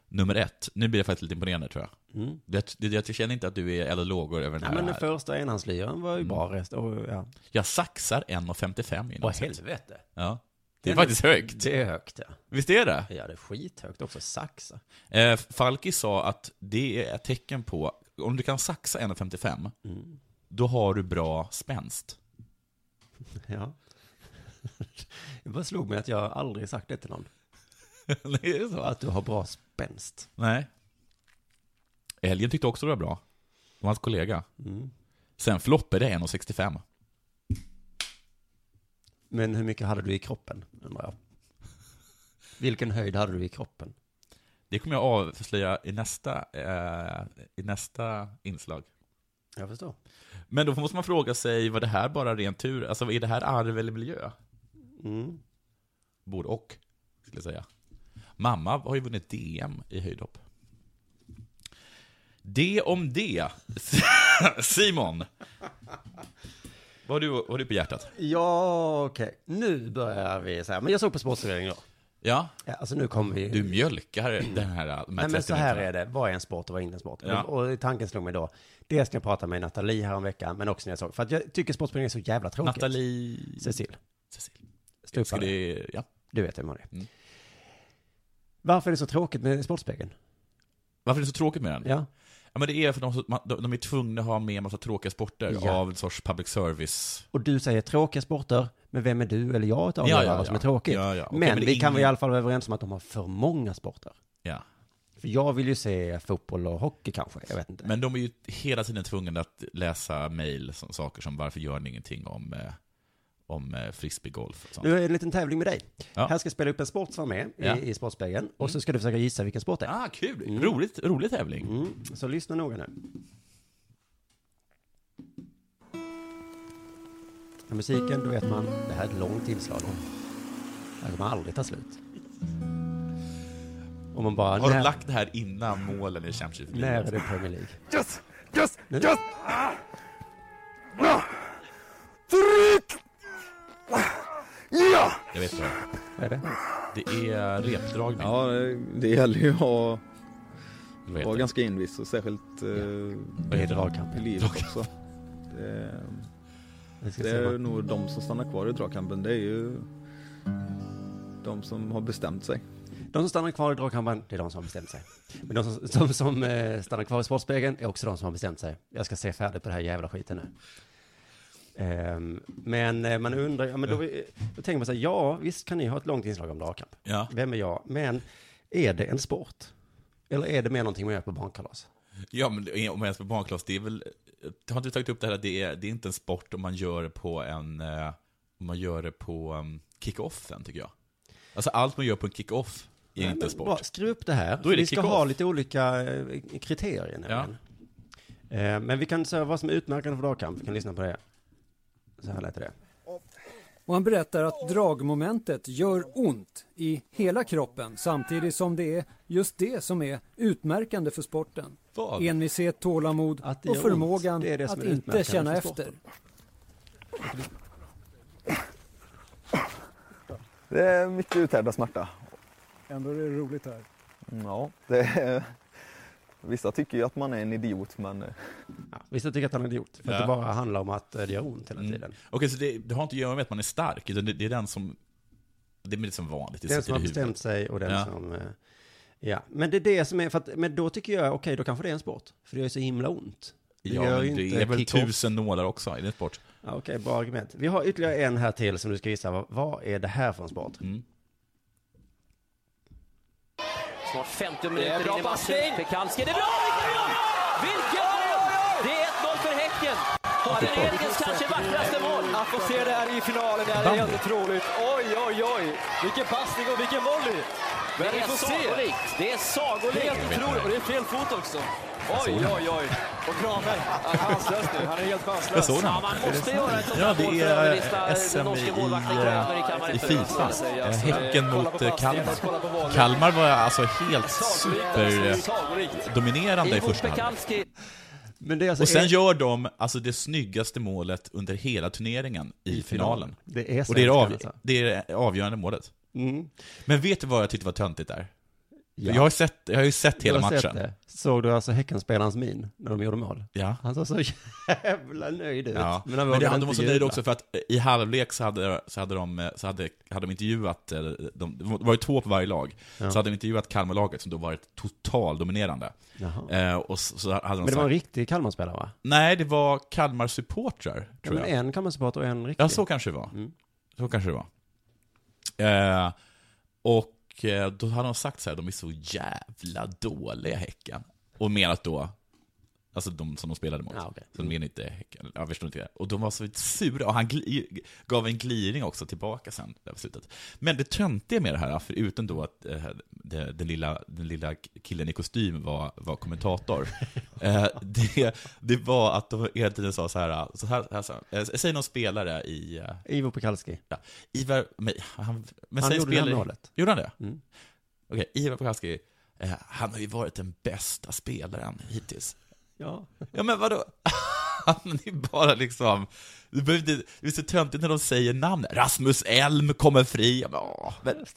[SPEAKER 7] Nummer ett. Nu blir jag faktiskt lite imponerad tror jag.
[SPEAKER 8] Mm.
[SPEAKER 7] Det, det, jag känner inte att du är eller lågor över den
[SPEAKER 8] Ja,
[SPEAKER 7] här.
[SPEAKER 8] men den första enhandslyran var ju
[SPEAKER 7] Mm.
[SPEAKER 8] bra rest. Och, ja.
[SPEAKER 7] Jag saxar 1,55 i
[SPEAKER 8] Åh,
[SPEAKER 7] gymnasiet.
[SPEAKER 8] helvete.
[SPEAKER 7] Ja. Det är
[SPEAKER 8] Den är-
[SPEAKER 7] faktiskt högt.
[SPEAKER 8] det är högt, ja.
[SPEAKER 7] Visst är det?
[SPEAKER 8] Ja, det är skithögt också. Saxa.
[SPEAKER 7] Eh, Falki sa att det är ett tecken på, om du kan saxa 1,55, då har du bra (laughs) spänst.
[SPEAKER 8] Ja. (laughs) Det bara slog mig att jag aldrig sagt det till någon.
[SPEAKER 7] Nej, är det så?
[SPEAKER 8] Att du har bra spänst.
[SPEAKER 7] Nej. Älgen tyckte också det var bra. Det var hans kollega.
[SPEAKER 8] Mm.
[SPEAKER 7] Sen floppade det 1,65.
[SPEAKER 8] Men hur mycket hade du i kroppen, undrar jag. Vilken höjd hade du i kroppen?
[SPEAKER 7] Det kommer jag avslöja i nästa, eh, i nästa inslag.
[SPEAKER 8] Jag förstår.
[SPEAKER 7] Men då måste man fråga sig, var det här bara ren tur? Alltså, är det här arv eller miljö?
[SPEAKER 8] Mm.
[SPEAKER 7] Både och, skulle jag säga. Mamma har ju vunnit DM i höjdhopp. Det om det. (laughs) Simon! Vad har du, vad har du på hjärtat?
[SPEAKER 8] Ja, okej. Nu börjar vi så här. Men jag såg på sportserveringen då.
[SPEAKER 7] Ja.
[SPEAKER 8] Alltså nu kommer vi...
[SPEAKER 7] Du mjölkar den här, de här
[SPEAKER 8] Nej, men
[SPEAKER 7] 30
[SPEAKER 8] så här
[SPEAKER 7] minuterna.
[SPEAKER 8] är det. Vad är en sport och vad är inte en sport?
[SPEAKER 7] Ja.
[SPEAKER 8] Och, och tanken slog mig då. Dels när jag pratade med Nathalie häromveckan, men också när jag såg. För att jag tycker sportspelning är så jävla tråkigt.
[SPEAKER 7] Nathalie...
[SPEAKER 8] Cecil.
[SPEAKER 7] Cecil.
[SPEAKER 8] Stupare.
[SPEAKER 7] Ska det, ja.
[SPEAKER 8] Du vet hur man är.
[SPEAKER 7] Mm.
[SPEAKER 8] Varför är det så tråkigt med Sportspegeln?
[SPEAKER 7] Varför är det så tråkigt med den?
[SPEAKER 8] Ja.
[SPEAKER 7] ja men det är för att de, de, de är tvungna att ha med en massa tråkiga sporter
[SPEAKER 8] Ja.
[SPEAKER 7] av en sorts public service.
[SPEAKER 8] Och du säger tråkiga sporter, men vem är du eller jag att
[SPEAKER 7] Ja,
[SPEAKER 8] avgöra
[SPEAKER 7] ja,
[SPEAKER 8] vad som
[SPEAKER 7] ja.
[SPEAKER 8] är tråkigt?
[SPEAKER 7] Ja, ja. Okej,
[SPEAKER 8] men
[SPEAKER 7] men det
[SPEAKER 8] vi
[SPEAKER 7] är
[SPEAKER 8] kan
[SPEAKER 7] ingen-
[SPEAKER 8] väl i alla fall vara överens om att de har för många sporter.
[SPEAKER 7] Ja.
[SPEAKER 8] För jag vill ju se fotboll och hockey kanske, jag vet inte.
[SPEAKER 7] Men de är ju hela tiden tvungna att läsa mejl, som- saker som varför gör ni ingenting om, eh, om eh, frisbeegolf och sånt.
[SPEAKER 8] Nu är det en liten tävling med dig.
[SPEAKER 7] Ja.
[SPEAKER 8] Här ska jag spela upp en sport som var med
[SPEAKER 7] Ja. Mm.
[SPEAKER 8] i, i Sportspegeln. Och så ska du försöka gissa vilken sport det är.
[SPEAKER 7] Ah, kul! Roligt, rolig tävling.
[SPEAKER 8] Mm. Så lyssna noga nu. Ja, Musiken, då vet man, det här är ett långt inslag. Det här kommer aldrig ta slut. Om man bara...
[SPEAKER 7] Har de
[SPEAKER 8] när-
[SPEAKER 7] lagt det här innan målen i Champions League?
[SPEAKER 8] När är det Premier League?
[SPEAKER 7] Yes!
[SPEAKER 8] Yes!
[SPEAKER 7] Yes!
[SPEAKER 17] Tryck! Ja!
[SPEAKER 7] Jag vet inte.
[SPEAKER 8] Vad är det?
[SPEAKER 7] Det är repdragning.
[SPEAKER 18] Ja, det- det gäller ju att ha- vara ganska envis och särskilt... eh,
[SPEAKER 8] Vad heter dragkamp?
[SPEAKER 18] I
[SPEAKER 9] (laughs)
[SPEAKER 18] livet också. Det,
[SPEAKER 8] ska
[SPEAKER 18] det
[SPEAKER 8] se
[SPEAKER 18] är
[SPEAKER 8] vad-
[SPEAKER 18] nog de som stannar kvar i dragkampen. Det är ju de som har bestämt sig.
[SPEAKER 8] De som stannar kvar i dragkampen, det är de som har bestämt sig. Men de som, de som eh, stannar kvar i Sportspegeln är också de som har bestämt sig. Jag ska se färdigt på det här jävla skiten nu. Ehm, men eh, man undrar, ja, men då, eh, då tänker man så här, ja, visst kan ni ha ett långt inslag om dragkamp.
[SPEAKER 7] Ja.
[SPEAKER 8] Vem är jag? Men är det en sport? Eller är det mer någonting man gör på barnkalas?
[SPEAKER 7] Ja, men det- om jag ens på barnklass, det är väl... Har inte du tagit upp det här att det är, det är inte en sport om man gör det på en... eh, Om man gör det på um, kick-offen, tycker jag. Alltså allt man gör på en kick-off är
[SPEAKER 8] Nej,
[SPEAKER 7] inte
[SPEAKER 8] men
[SPEAKER 7] en sport.
[SPEAKER 8] bara Skriv upp det här.
[SPEAKER 7] Då är det
[SPEAKER 8] vi ska
[SPEAKER 7] kick-off.
[SPEAKER 8] ha lite olika eh, kriterier nämligen. Eh, Men vi kan säga vad som är utmärkande för dragkamp. Vi kan lyssna på det. Så här lät det.
[SPEAKER 19] Och han berättar att dragmomentet gör ont i hela kroppen samtidigt som det är just det som är utmärkande för sporten.
[SPEAKER 8] Vad?
[SPEAKER 19] Envishet, tålamod
[SPEAKER 8] det
[SPEAKER 19] och
[SPEAKER 8] gör ont.
[SPEAKER 19] förmågan
[SPEAKER 8] Det är det som
[SPEAKER 19] att
[SPEAKER 8] är
[SPEAKER 19] inte
[SPEAKER 8] utmärkande
[SPEAKER 19] känna
[SPEAKER 8] för
[SPEAKER 19] efter.
[SPEAKER 8] sporten.
[SPEAKER 18] Det är mycket uthärdad smärta.
[SPEAKER 20] Ändå är det roligt här.
[SPEAKER 18] Ja, det är... Vissa tycker ju att man är en idiot, men... eh.
[SPEAKER 8] Vissa tycker att han är idiot, för att
[SPEAKER 7] Ja. Mm.
[SPEAKER 8] det bara handlar om att eh, det gör ont hela tiden.
[SPEAKER 7] Okej, så det, det har inte att göra med att man är stark, utan det, det är den som... Det är lite som vanligt, det sitter
[SPEAKER 8] Den som har
[SPEAKER 7] i huvudet.
[SPEAKER 8] bestämt sig och den
[SPEAKER 7] ja.
[SPEAKER 8] som... eh, Ja, men det är det som är, för att, men då tycker jag, okej, då kanske det är en sport. För det gör ju så himla ont.
[SPEAKER 7] Ja,
[SPEAKER 8] gör
[SPEAKER 7] men
[SPEAKER 8] ju
[SPEAKER 7] det är väl
[SPEAKER 8] kickbox.
[SPEAKER 7] tusen nålar också i den sport.
[SPEAKER 8] Ja, Okej, bra argument. Vi har ytterligare en här till som du ska gissa. Vad, vad är det här för en sport?
[SPEAKER 7] Mm.
[SPEAKER 21] Snart 50
[SPEAKER 22] Det är
[SPEAKER 21] minuter
[SPEAKER 22] bra
[SPEAKER 21] in i matchen.
[SPEAKER 22] passning.
[SPEAKER 21] Pekanski, det är bra! Vilken mål! Det är 1-0 för Häcken. Och det är Helgens kanske vackraste mål.
[SPEAKER 23] Att få se det här i finalen, det här är helt otroligt. Oj, oj, oj! Vilken passning och vilken volley! Men
[SPEAKER 21] Det
[SPEAKER 23] vi
[SPEAKER 21] är
[SPEAKER 23] får se.
[SPEAKER 21] sagolikt. Det är sagolikt.
[SPEAKER 23] Helt otroligt, och det är fel fot också. Oj, oj, oj! Och Kramer, han är chanslös nu. Han är helt chanslös.
[SPEAKER 7] Jag såg den.
[SPEAKER 21] Ja, man måste göra ett sånt
[SPEAKER 7] Ja,
[SPEAKER 21] här
[SPEAKER 7] det
[SPEAKER 21] mål för
[SPEAKER 7] är,
[SPEAKER 21] att överlista
[SPEAKER 7] eh, SM
[SPEAKER 21] den norske
[SPEAKER 7] i,
[SPEAKER 21] målvakten
[SPEAKER 7] eh,
[SPEAKER 21] Kramer i kammaren.
[SPEAKER 7] i Fifa.
[SPEAKER 21] Ja,
[SPEAKER 7] Eh,
[SPEAKER 21] så-
[SPEAKER 7] Häcken
[SPEAKER 21] kolla
[SPEAKER 7] mot
[SPEAKER 21] på
[SPEAKER 7] eh,
[SPEAKER 21] pass,
[SPEAKER 7] Kalmar.
[SPEAKER 21] kolla på bollen.
[SPEAKER 7] Kalmar var alltså helt superdominerande i
[SPEAKER 21] Ivo
[SPEAKER 7] första halvlek.
[SPEAKER 21] Pekanski.
[SPEAKER 8] Men det är alltså
[SPEAKER 7] Och sen
[SPEAKER 8] är-
[SPEAKER 7] gör de alltså det snyggaste målet under hela turneringen i finalen.
[SPEAKER 8] Det är
[SPEAKER 7] Och det är det, av,
[SPEAKER 8] svenskarna, alltså.
[SPEAKER 7] det, är det avgörande målet.
[SPEAKER 8] Mm.
[SPEAKER 7] Men vet du vad jag tyckte var töntigt där?
[SPEAKER 8] Ja.
[SPEAKER 7] Jag, har sett, jag har ju sett
[SPEAKER 8] Du
[SPEAKER 7] hela
[SPEAKER 8] har
[SPEAKER 7] matchen.
[SPEAKER 8] sett det. Såg du alltså Häckenspelarens min när de gjorde mål?
[SPEAKER 7] Ja.
[SPEAKER 8] Han såg så (laughs) jävla nöjd ut.
[SPEAKER 7] Ja.
[SPEAKER 8] han
[SPEAKER 7] Men,
[SPEAKER 8] vågade
[SPEAKER 7] det, de
[SPEAKER 8] inte
[SPEAKER 7] var så nöjda
[SPEAKER 8] jubla.
[SPEAKER 7] också för att eh, i halvlek så hade, så hade, de, eh, så hade, hade de intervjuat, eh, de, det var ju två på varje lag,
[SPEAKER 8] Ja.
[SPEAKER 7] så hade de intervjuat Kalmarlaget som då varit totaldominerande.
[SPEAKER 8] Jaha.
[SPEAKER 7] Eh, och så, så hade de
[SPEAKER 8] Men det
[SPEAKER 7] sagt,
[SPEAKER 8] var en riktig Kalmarspelare va?
[SPEAKER 7] Nej, det var Kalmar-supportrar,
[SPEAKER 8] Ja,
[SPEAKER 7] tror
[SPEAKER 8] men
[SPEAKER 7] jag.
[SPEAKER 8] en Mm. Kalmarsupporter och en riktig.
[SPEAKER 7] Ja, så kanske det var. Så kanske det var. Eh, och eh, då hade de sagt så här, de är så jävla dåliga Häcken. Och menat då, alltså de som de spelade
[SPEAKER 8] Ah,
[SPEAKER 7] mot. Så
[SPEAKER 8] Mm.
[SPEAKER 7] de menar inte Häcken, jag förstår inte det. Och de var så sura, och han gli- gav en gliring också tillbaka sen, där på slutet. Men det töntiga med det här, förutom då att eh, det, den, lilla, den lilla killen i kostym var, var
[SPEAKER 8] (laughs)
[SPEAKER 7] kommentator, eh, det, det var att de hela tiden sa så här, så här, så här, så här eh, säg någon spelare i... eh,
[SPEAKER 8] Ivo Pekalski.
[SPEAKER 7] Ja. Ivar, men han, men
[SPEAKER 8] Han
[SPEAKER 7] säg
[SPEAKER 8] gjorde det här
[SPEAKER 7] spelare-
[SPEAKER 8] målet.
[SPEAKER 7] Gjorde han det?
[SPEAKER 8] Mm.
[SPEAKER 7] Okej, Ivar Pekalski, eh, han har ju varit den bästa spelaren hittills.
[SPEAKER 8] Ja.
[SPEAKER 7] Ja men vadå? (laughs) Han är ju bara liksom, du behöver inte, det är så töntigt när de säger namn. Rasmus Elm kommer fri. Ja, men, åh,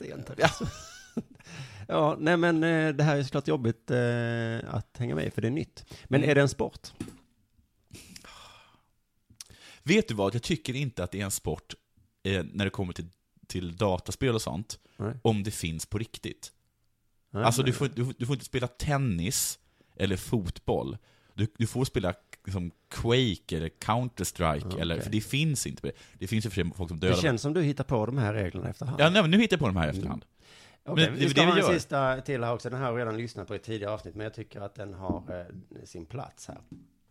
[SPEAKER 7] men,
[SPEAKER 8] (laughs)
[SPEAKER 7] ja.
[SPEAKER 8] Ja, nej men eh, det här är såklart jobbigt eh, att hänga med i, för det är nytt. Men
[SPEAKER 7] Mm.
[SPEAKER 8] är det en sport?
[SPEAKER 7] Vet du vad, jag tycker inte att det är en sport eh, när det kommer till, till dataspel och sånt,
[SPEAKER 8] Nej.
[SPEAKER 7] om det finns på riktigt.
[SPEAKER 8] Nej,
[SPEAKER 7] alltså
[SPEAKER 8] nej.
[SPEAKER 7] du får, du, får- du får inte spela tennis eller fotboll. Du, du får spela liksom, Quake eller Counter-Strike, eller,
[SPEAKER 8] okej.
[SPEAKER 7] för det finns inte på det. Det finns ju för sig folk som
[SPEAKER 8] Det
[SPEAKER 7] dödar
[SPEAKER 8] känns som du hittar på de här reglerna efterhand.
[SPEAKER 7] Ja, nej, men nu hittar jag på de här i efterhand.
[SPEAKER 8] Mm. Okej,
[SPEAKER 7] Men
[SPEAKER 8] vi ska
[SPEAKER 7] vi
[SPEAKER 8] ha en
[SPEAKER 7] gör.
[SPEAKER 8] sista till här också. Den här har jag redan lyssnat på i ett tidigare avsnitt, men jag tycker att den har eh, sin plats här.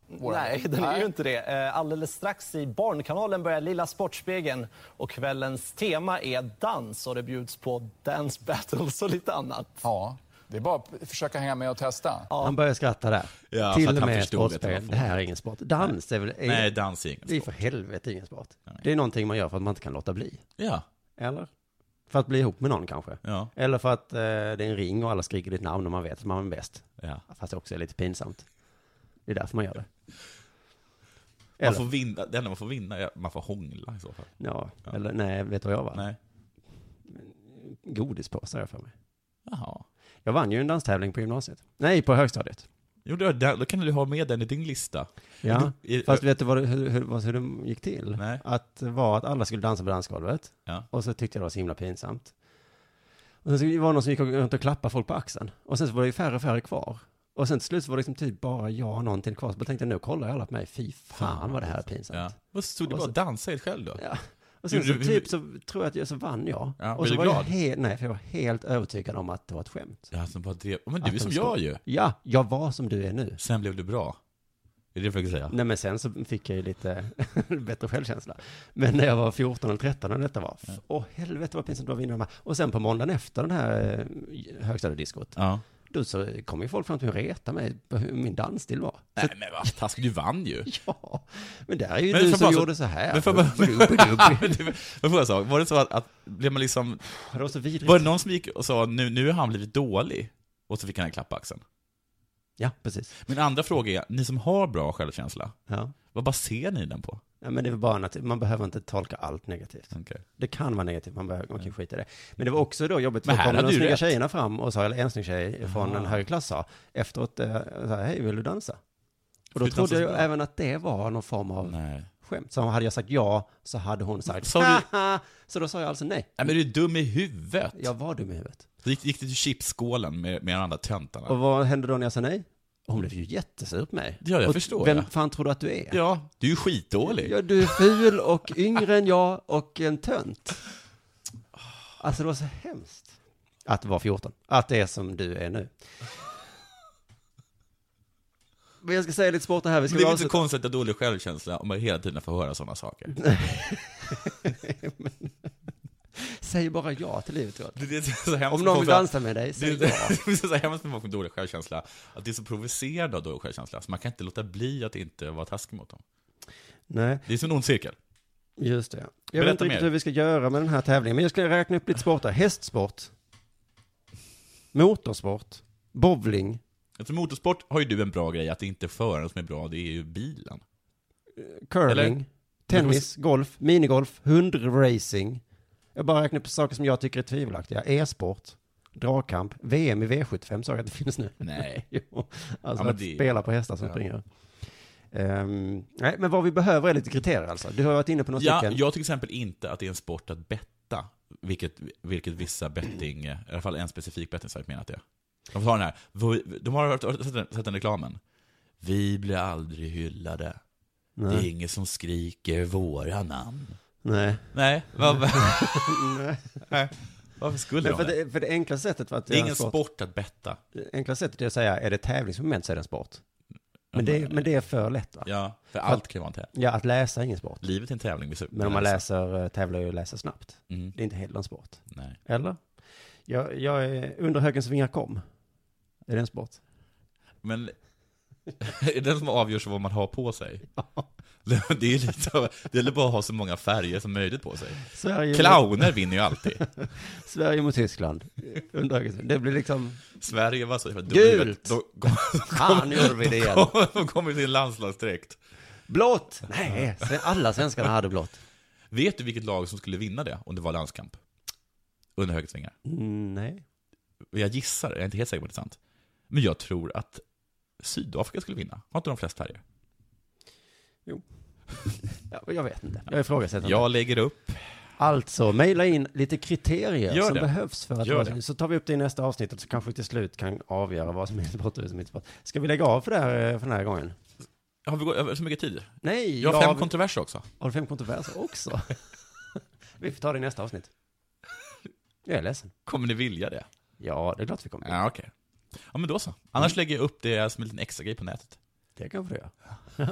[SPEAKER 22] Nej, den är ju inte det. Eh, Alldeles strax i Barnkanalen börjar Lilla Sportspegeln och kvällens tema är dans och det bjuds på dance battles och lite annat.
[SPEAKER 10] Ja, det är bara att försöka hänga med och testa.
[SPEAKER 8] Han börjar skratta där.
[SPEAKER 7] Ja,
[SPEAKER 8] till
[SPEAKER 7] för att
[SPEAKER 8] och
[SPEAKER 7] han
[SPEAKER 8] med
[SPEAKER 7] förstod att det var
[SPEAKER 8] sportspel.
[SPEAKER 7] fotboll.
[SPEAKER 8] Det här är ingen sport. Dans är väl... Är,
[SPEAKER 7] Nej, dans är ingen
[SPEAKER 8] Det är för helvete ingen sport. Det är någonting man gör för att man inte kan låta bli.
[SPEAKER 7] Ja.
[SPEAKER 8] Eller? För att bli ihop med någon kanske.
[SPEAKER 7] Ja.
[SPEAKER 8] Eller för att eh, det är en ring och alla skriker ditt namn och man vet att man är bäst.
[SPEAKER 7] Ja.
[SPEAKER 8] Fast det också är lite pinsamt. Det är därför man gör det.
[SPEAKER 7] Man
[SPEAKER 8] Eller?
[SPEAKER 7] får vinna, det enda man får vinna är att man får hångla i så fall.
[SPEAKER 8] Ja, eller nej, vet du vad jag vann?
[SPEAKER 7] Nej.
[SPEAKER 8] Godispåsar har jag för mig.
[SPEAKER 7] Jaha.
[SPEAKER 8] Jag vann ju en danstävling på gymnasiet. Nej, på högstadiet.
[SPEAKER 7] Jo, då, då kan du ha med den i din lista.
[SPEAKER 8] Ja,
[SPEAKER 7] Du- i-
[SPEAKER 8] fast vet du vad, det- hur, hur, vad- hur det gick till?
[SPEAKER 7] Nej.
[SPEAKER 8] Att det var att alla skulle dansa på dansgolvet.
[SPEAKER 7] Ja.
[SPEAKER 8] Och så tyckte jag det var så himla pinsamt. Och sen så var det någon som gick runt och klappade folk på axeln. Och sen så var det ju färre och färre kvar. Och sen till slut så var det liksom typ bara jag och någon till kvar. Så bara tänkte jag nu kollar alla på mig. Fy fan vad det här är pinsamt.
[SPEAKER 7] Ja. Och så stod du
[SPEAKER 8] Och
[SPEAKER 7] bara och
[SPEAKER 8] så-
[SPEAKER 7] dansade helt själv då?
[SPEAKER 8] Ja. Och sen
[SPEAKER 7] alltså.
[SPEAKER 8] så
[SPEAKER 7] Gjorde du-
[SPEAKER 8] typ så tror jag att jag så vann jag.
[SPEAKER 7] Ja,
[SPEAKER 8] och
[SPEAKER 7] blev
[SPEAKER 8] så
[SPEAKER 7] du
[SPEAKER 8] var
[SPEAKER 7] glad?
[SPEAKER 8] jag helt, nej för jag var helt övertygad om att det var ett skämt.
[SPEAKER 7] Ja, som bara drev. Men du
[SPEAKER 8] Att
[SPEAKER 7] är
[SPEAKER 8] de
[SPEAKER 7] som
[SPEAKER 8] ska-
[SPEAKER 7] jag ju.
[SPEAKER 8] Ja, jag var som du är nu.
[SPEAKER 7] Sen blev du bra. Är det det jag försöker säga?
[SPEAKER 8] Nej men sen så fick jag ju lite (laughs) bättre självkänsla. Men när jag var 14 eller 13 när detta var, f- åh helvete vad pinsamt det var att vinna de här. Och sen på måndagen efter den här eh, högstadiediskot,
[SPEAKER 7] Ja.
[SPEAKER 8] då så kom ju folk fram till mig och retade mig på hur min dansstil var. (laughs)
[SPEAKER 7] Nej men vad taskigt, du vann ju.
[SPEAKER 8] Ja, men där är ju
[SPEAKER 7] Men
[SPEAKER 8] du
[SPEAKER 7] får
[SPEAKER 8] som
[SPEAKER 7] bara
[SPEAKER 8] gjorde så här.
[SPEAKER 7] Men får jag (laughs) bara... Men
[SPEAKER 8] Bubbidubbi.
[SPEAKER 7] det var- men får jag säga, var det så att, att blev man liksom...
[SPEAKER 8] Det var så vidrigt.
[SPEAKER 7] Var det någon som gick och sa nu, nu har han blivit dålig? Och så fick han en klapp på axeln.
[SPEAKER 8] Ja, precis.
[SPEAKER 7] Min andra fråga är, ni som har bra självkänsla,
[SPEAKER 8] Ja.
[SPEAKER 7] vad baserar ni den på?
[SPEAKER 8] Ja, men det var bara att man behöver inte tolka allt negativt. Det kan vara negativt, man, behöver, man kan skita i det. Men det var också då jobbigt,
[SPEAKER 7] Men
[SPEAKER 8] för då
[SPEAKER 7] här
[SPEAKER 8] kom de
[SPEAKER 7] hade du
[SPEAKER 8] snygga
[SPEAKER 7] rätt.
[SPEAKER 8] tjejerna fram och sa, eller en snygg tjej från
[SPEAKER 7] Ah.
[SPEAKER 8] en högre klass sa, efteråt, eh, så här, hej, vill du dansa? Och då
[SPEAKER 7] Du
[SPEAKER 8] trodde
[SPEAKER 7] dansar
[SPEAKER 8] jag
[SPEAKER 7] så
[SPEAKER 8] ju
[SPEAKER 7] bra.
[SPEAKER 8] även att det var någon form av skämt. Så hade jag sagt ja, så hade hon sagt,
[SPEAKER 7] Sa
[SPEAKER 8] "Ha!"
[SPEAKER 7] du...
[SPEAKER 8] så då sa jag alltså nej.
[SPEAKER 7] Nej men du är dum i huvudet.
[SPEAKER 8] Jag var dum i huvudet.
[SPEAKER 7] Gick, gick det till chipsskålen med, med de andra töntarna?
[SPEAKER 8] Och vad hände då när jag sa nej? Hon blev ju jättesur på mig.
[SPEAKER 7] Ja, jag
[SPEAKER 8] och
[SPEAKER 7] förstår
[SPEAKER 8] Vem
[SPEAKER 7] det.
[SPEAKER 8] fan tror du att du är?
[SPEAKER 7] Ja, du är ju skitdålig.
[SPEAKER 8] Ja, du är ful och yngre än jag och en tönt. Alltså det var så hemskt. Att vara 14. Att det är som du är nu. Men jag ska säga lite sport här. Vi ska
[SPEAKER 7] det är
[SPEAKER 8] väl
[SPEAKER 7] väl inte så
[SPEAKER 8] avsluta-
[SPEAKER 7] konstigt att jag har dålig självkänsla om man hela tiden får höra sådana saker.
[SPEAKER 8] Säg bara ja till livet, Johan.
[SPEAKER 7] Det är så hemskt med
[SPEAKER 8] Om någon
[SPEAKER 7] folk
[SPEAKER 8] vill
[SPEAKER 7] som-
[SPEAKER 8] dansa med dig,
[SPEAKER 7] det,
[SPEAKER 8] säg
[SPEAKER 7] är-
[SPEAKER 8] ja.
[SPEAKER 7] (laughs) det är så hemskt med folk med dålig självkänsla, att det är så provocerande av dålig självkänsla, så man kan inte låta bli att inte vara taskig mot dem.
[SPEAKER 8] (laughs) Nej.
[SPEAKER 7] Det är som en ond cirkel.
[SPEAKER 8] Just det. Jag vet
[SPEAKER 7] Berätta
[SPEAKER 8] inte riktigt
[SPEAKER 7] mer.
[SPEAKER 8] hur vi ska göra med den här tävlingen, men jag skulle räkna upp lite sporter. Hästsport. Motorsport. Bowling.
[SPEAKER 7] Eftersom Alltså, motorsport har ju du en bra grej, att det inte är föraren som är bra, det är ju bilen.
[SPEAKER 8] curling,
[SPEAKER 7] Eller?
[SPEAKER 8] tennis, golf, minigolf, hundracing. Jag bara räknar upp saker som jag tycker är tvivelaktiga. E-sport, dragkamp, VM i V75 sa jag att det finns nu. (laughs)
[SPEAKER 7] Nej.
[SPEAKER 8] jo, alltså
[SPEAKER 7] Ja, men
[SPEAKER 8] att
[SPEAKER 7] det-
[SPEAKER 8] spela på hästar som
[SPEAKER 7] Ja.
[SPEAKER 8] springer. Ehm, nej, men vad vi behöver är lite kriterier alltså. Du har varit inne på
[SPEAKER 7] (laughs)
[SPEAKER 8] några
[SPEAKER 7] Ja,
[SPEAKER 8] stycken.
[SPEAKER 7] jag till exempel inte att det är en sport att betta, vilket, vilket vissa betting, i alla fall en specifik bettingsajt menar att det är. De har den här, de har hört- sett den- sett den reklamen. Vi blir aldrig hyllade. Det är
[SPEAKER 8] Nej.
[SPEAKER 7] ingen som skriker våra namn. (laughs)
[SPEAKER 8] Nej.
[SPEAKER 7] Nej, vad-
[SPEAKER 8] Nej.
[SPEAKER 7] Nej. Varför skulle
[SPEAKER 8] Men
[SPEAKER 7] de
[SPEAKER 8] för det? För det enkla sättet för att
[SPEAKER 7] Det är
[SPEAKER 8] göra en
[SPEAKER 7] ingen sport att betta.
[SPEAKER 8] Det enkla sättet är att säga, är det tävlingsmoment så är det en sport. Men det, men det är för lätt va?
[SPEAKER 7] Ja, för allt kan vara en tävling.
[SPEAKER 8] Ja, att läsa är ingen sport.
[SPEAKER 7] Livet är en tävling. vi ser-
[SPEAKER 8] Men om man läser, eh, tävlar ju och läser snabbt.
[SPEAKER 7] Mm.
[SPEAKER 8] Det är inte heller en sport.
[SPEAKER 7] Nej.
[SPEAKER 8] Eller? Jag, jag är under högens vingar kom. Är det en sport?
[SPEAKER 7] Men (laughs) är det den som avgörs av vad man har på sig? Det det är ju lite av, det gäller bara att ha så många färger som möjligt på sig.
[SPEAKER 8] Sverige-
[SPEAKER 7] Clowner vinner ju alltid.
[SPEAKER 8] Sverige mot Tyskland. Under högens Det blir liksom...
[SPEAKER 7] Sverige var så jävla dumma i huvudet.
[SPEAKER 8] Gult!
[SPEAKER 7] De kom- de (laughs) kom-
[SPEAKER 8] Fan, gjorde vi (laughs) det igen.
[SPEAKER 7] De kom- De kommer i sin landslagsdräkt.
[SPEAKER 8] Blått! Nej, se- alla svenskarna hade blått.
[SPEAKER 7] Vet du vilket lag som skulle vinna det om det var landskamp? Under högets vingar.
[SPEAKER 8] Nej.
[SPEAKER 7] Jag gissar, jag är inte helt säker på att det är sant. Men jag tror att Sydafrika skulle vinna. Har inte de flest färger?
[SPEAKER 8] Ja, Jag vet inte. Jag ifrågasätter inte.
[SPEAKER 7] Jag lägger upp.
[SPEAKER 8] Alltså, mejla in lite kriterier
[SPEAKER 7] Gör
[SPEAKER 8] som
[SPEAKER 7] det.
[SPEAKER 8] behövs för att...
[SPEAKER 7] Gör
[SPEAKER 8] vara- Så tar vi upp det i nästa avsnitt och så kanske vi till slut kan avgöra vad som är sport och vad som inte är sport. Ska vi lägga av för, det här, eh, för den här gången?
[SPEAKER 7] Har vi gått över så mycket tid?
[SPEAKER 8] Nej,
[SPEAKER 7] Jag har fem
[SPEAKER 8] vi-
[SPEAKER 7] kontroverser också.
[SPEAKER 8] Har du fem kontroverser också? vi får ta det i nästa avsnitt. Jag är ledsen.
[SPEAKER 7] Kommer ni vilja det?
[SPEAKER 8] Ja, det är klart vi kommer.
[SPEAKER 7] Ja, okej. Mm. Ja, men då så. Annars lägger jag upp det som en liten extra grej på nätet.
[SPEAKER 8] Det kan vi göra. (laughs)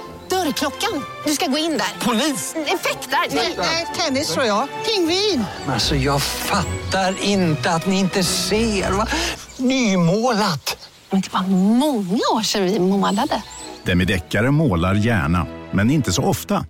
[SPEAKER 20] Dörrklockan. Du ska gå in där. Polis? Effektar? Nej, tennis tror jag. Pingvin.
[SPEAKER 24] Alltså jag fattar inte att ni inte ser. Va? Nymålat.
[SPEAKER 20] Men det var många år sedan vi målade.
[SPEAKER 2] Demideckare målar gärna, men inte så ofta.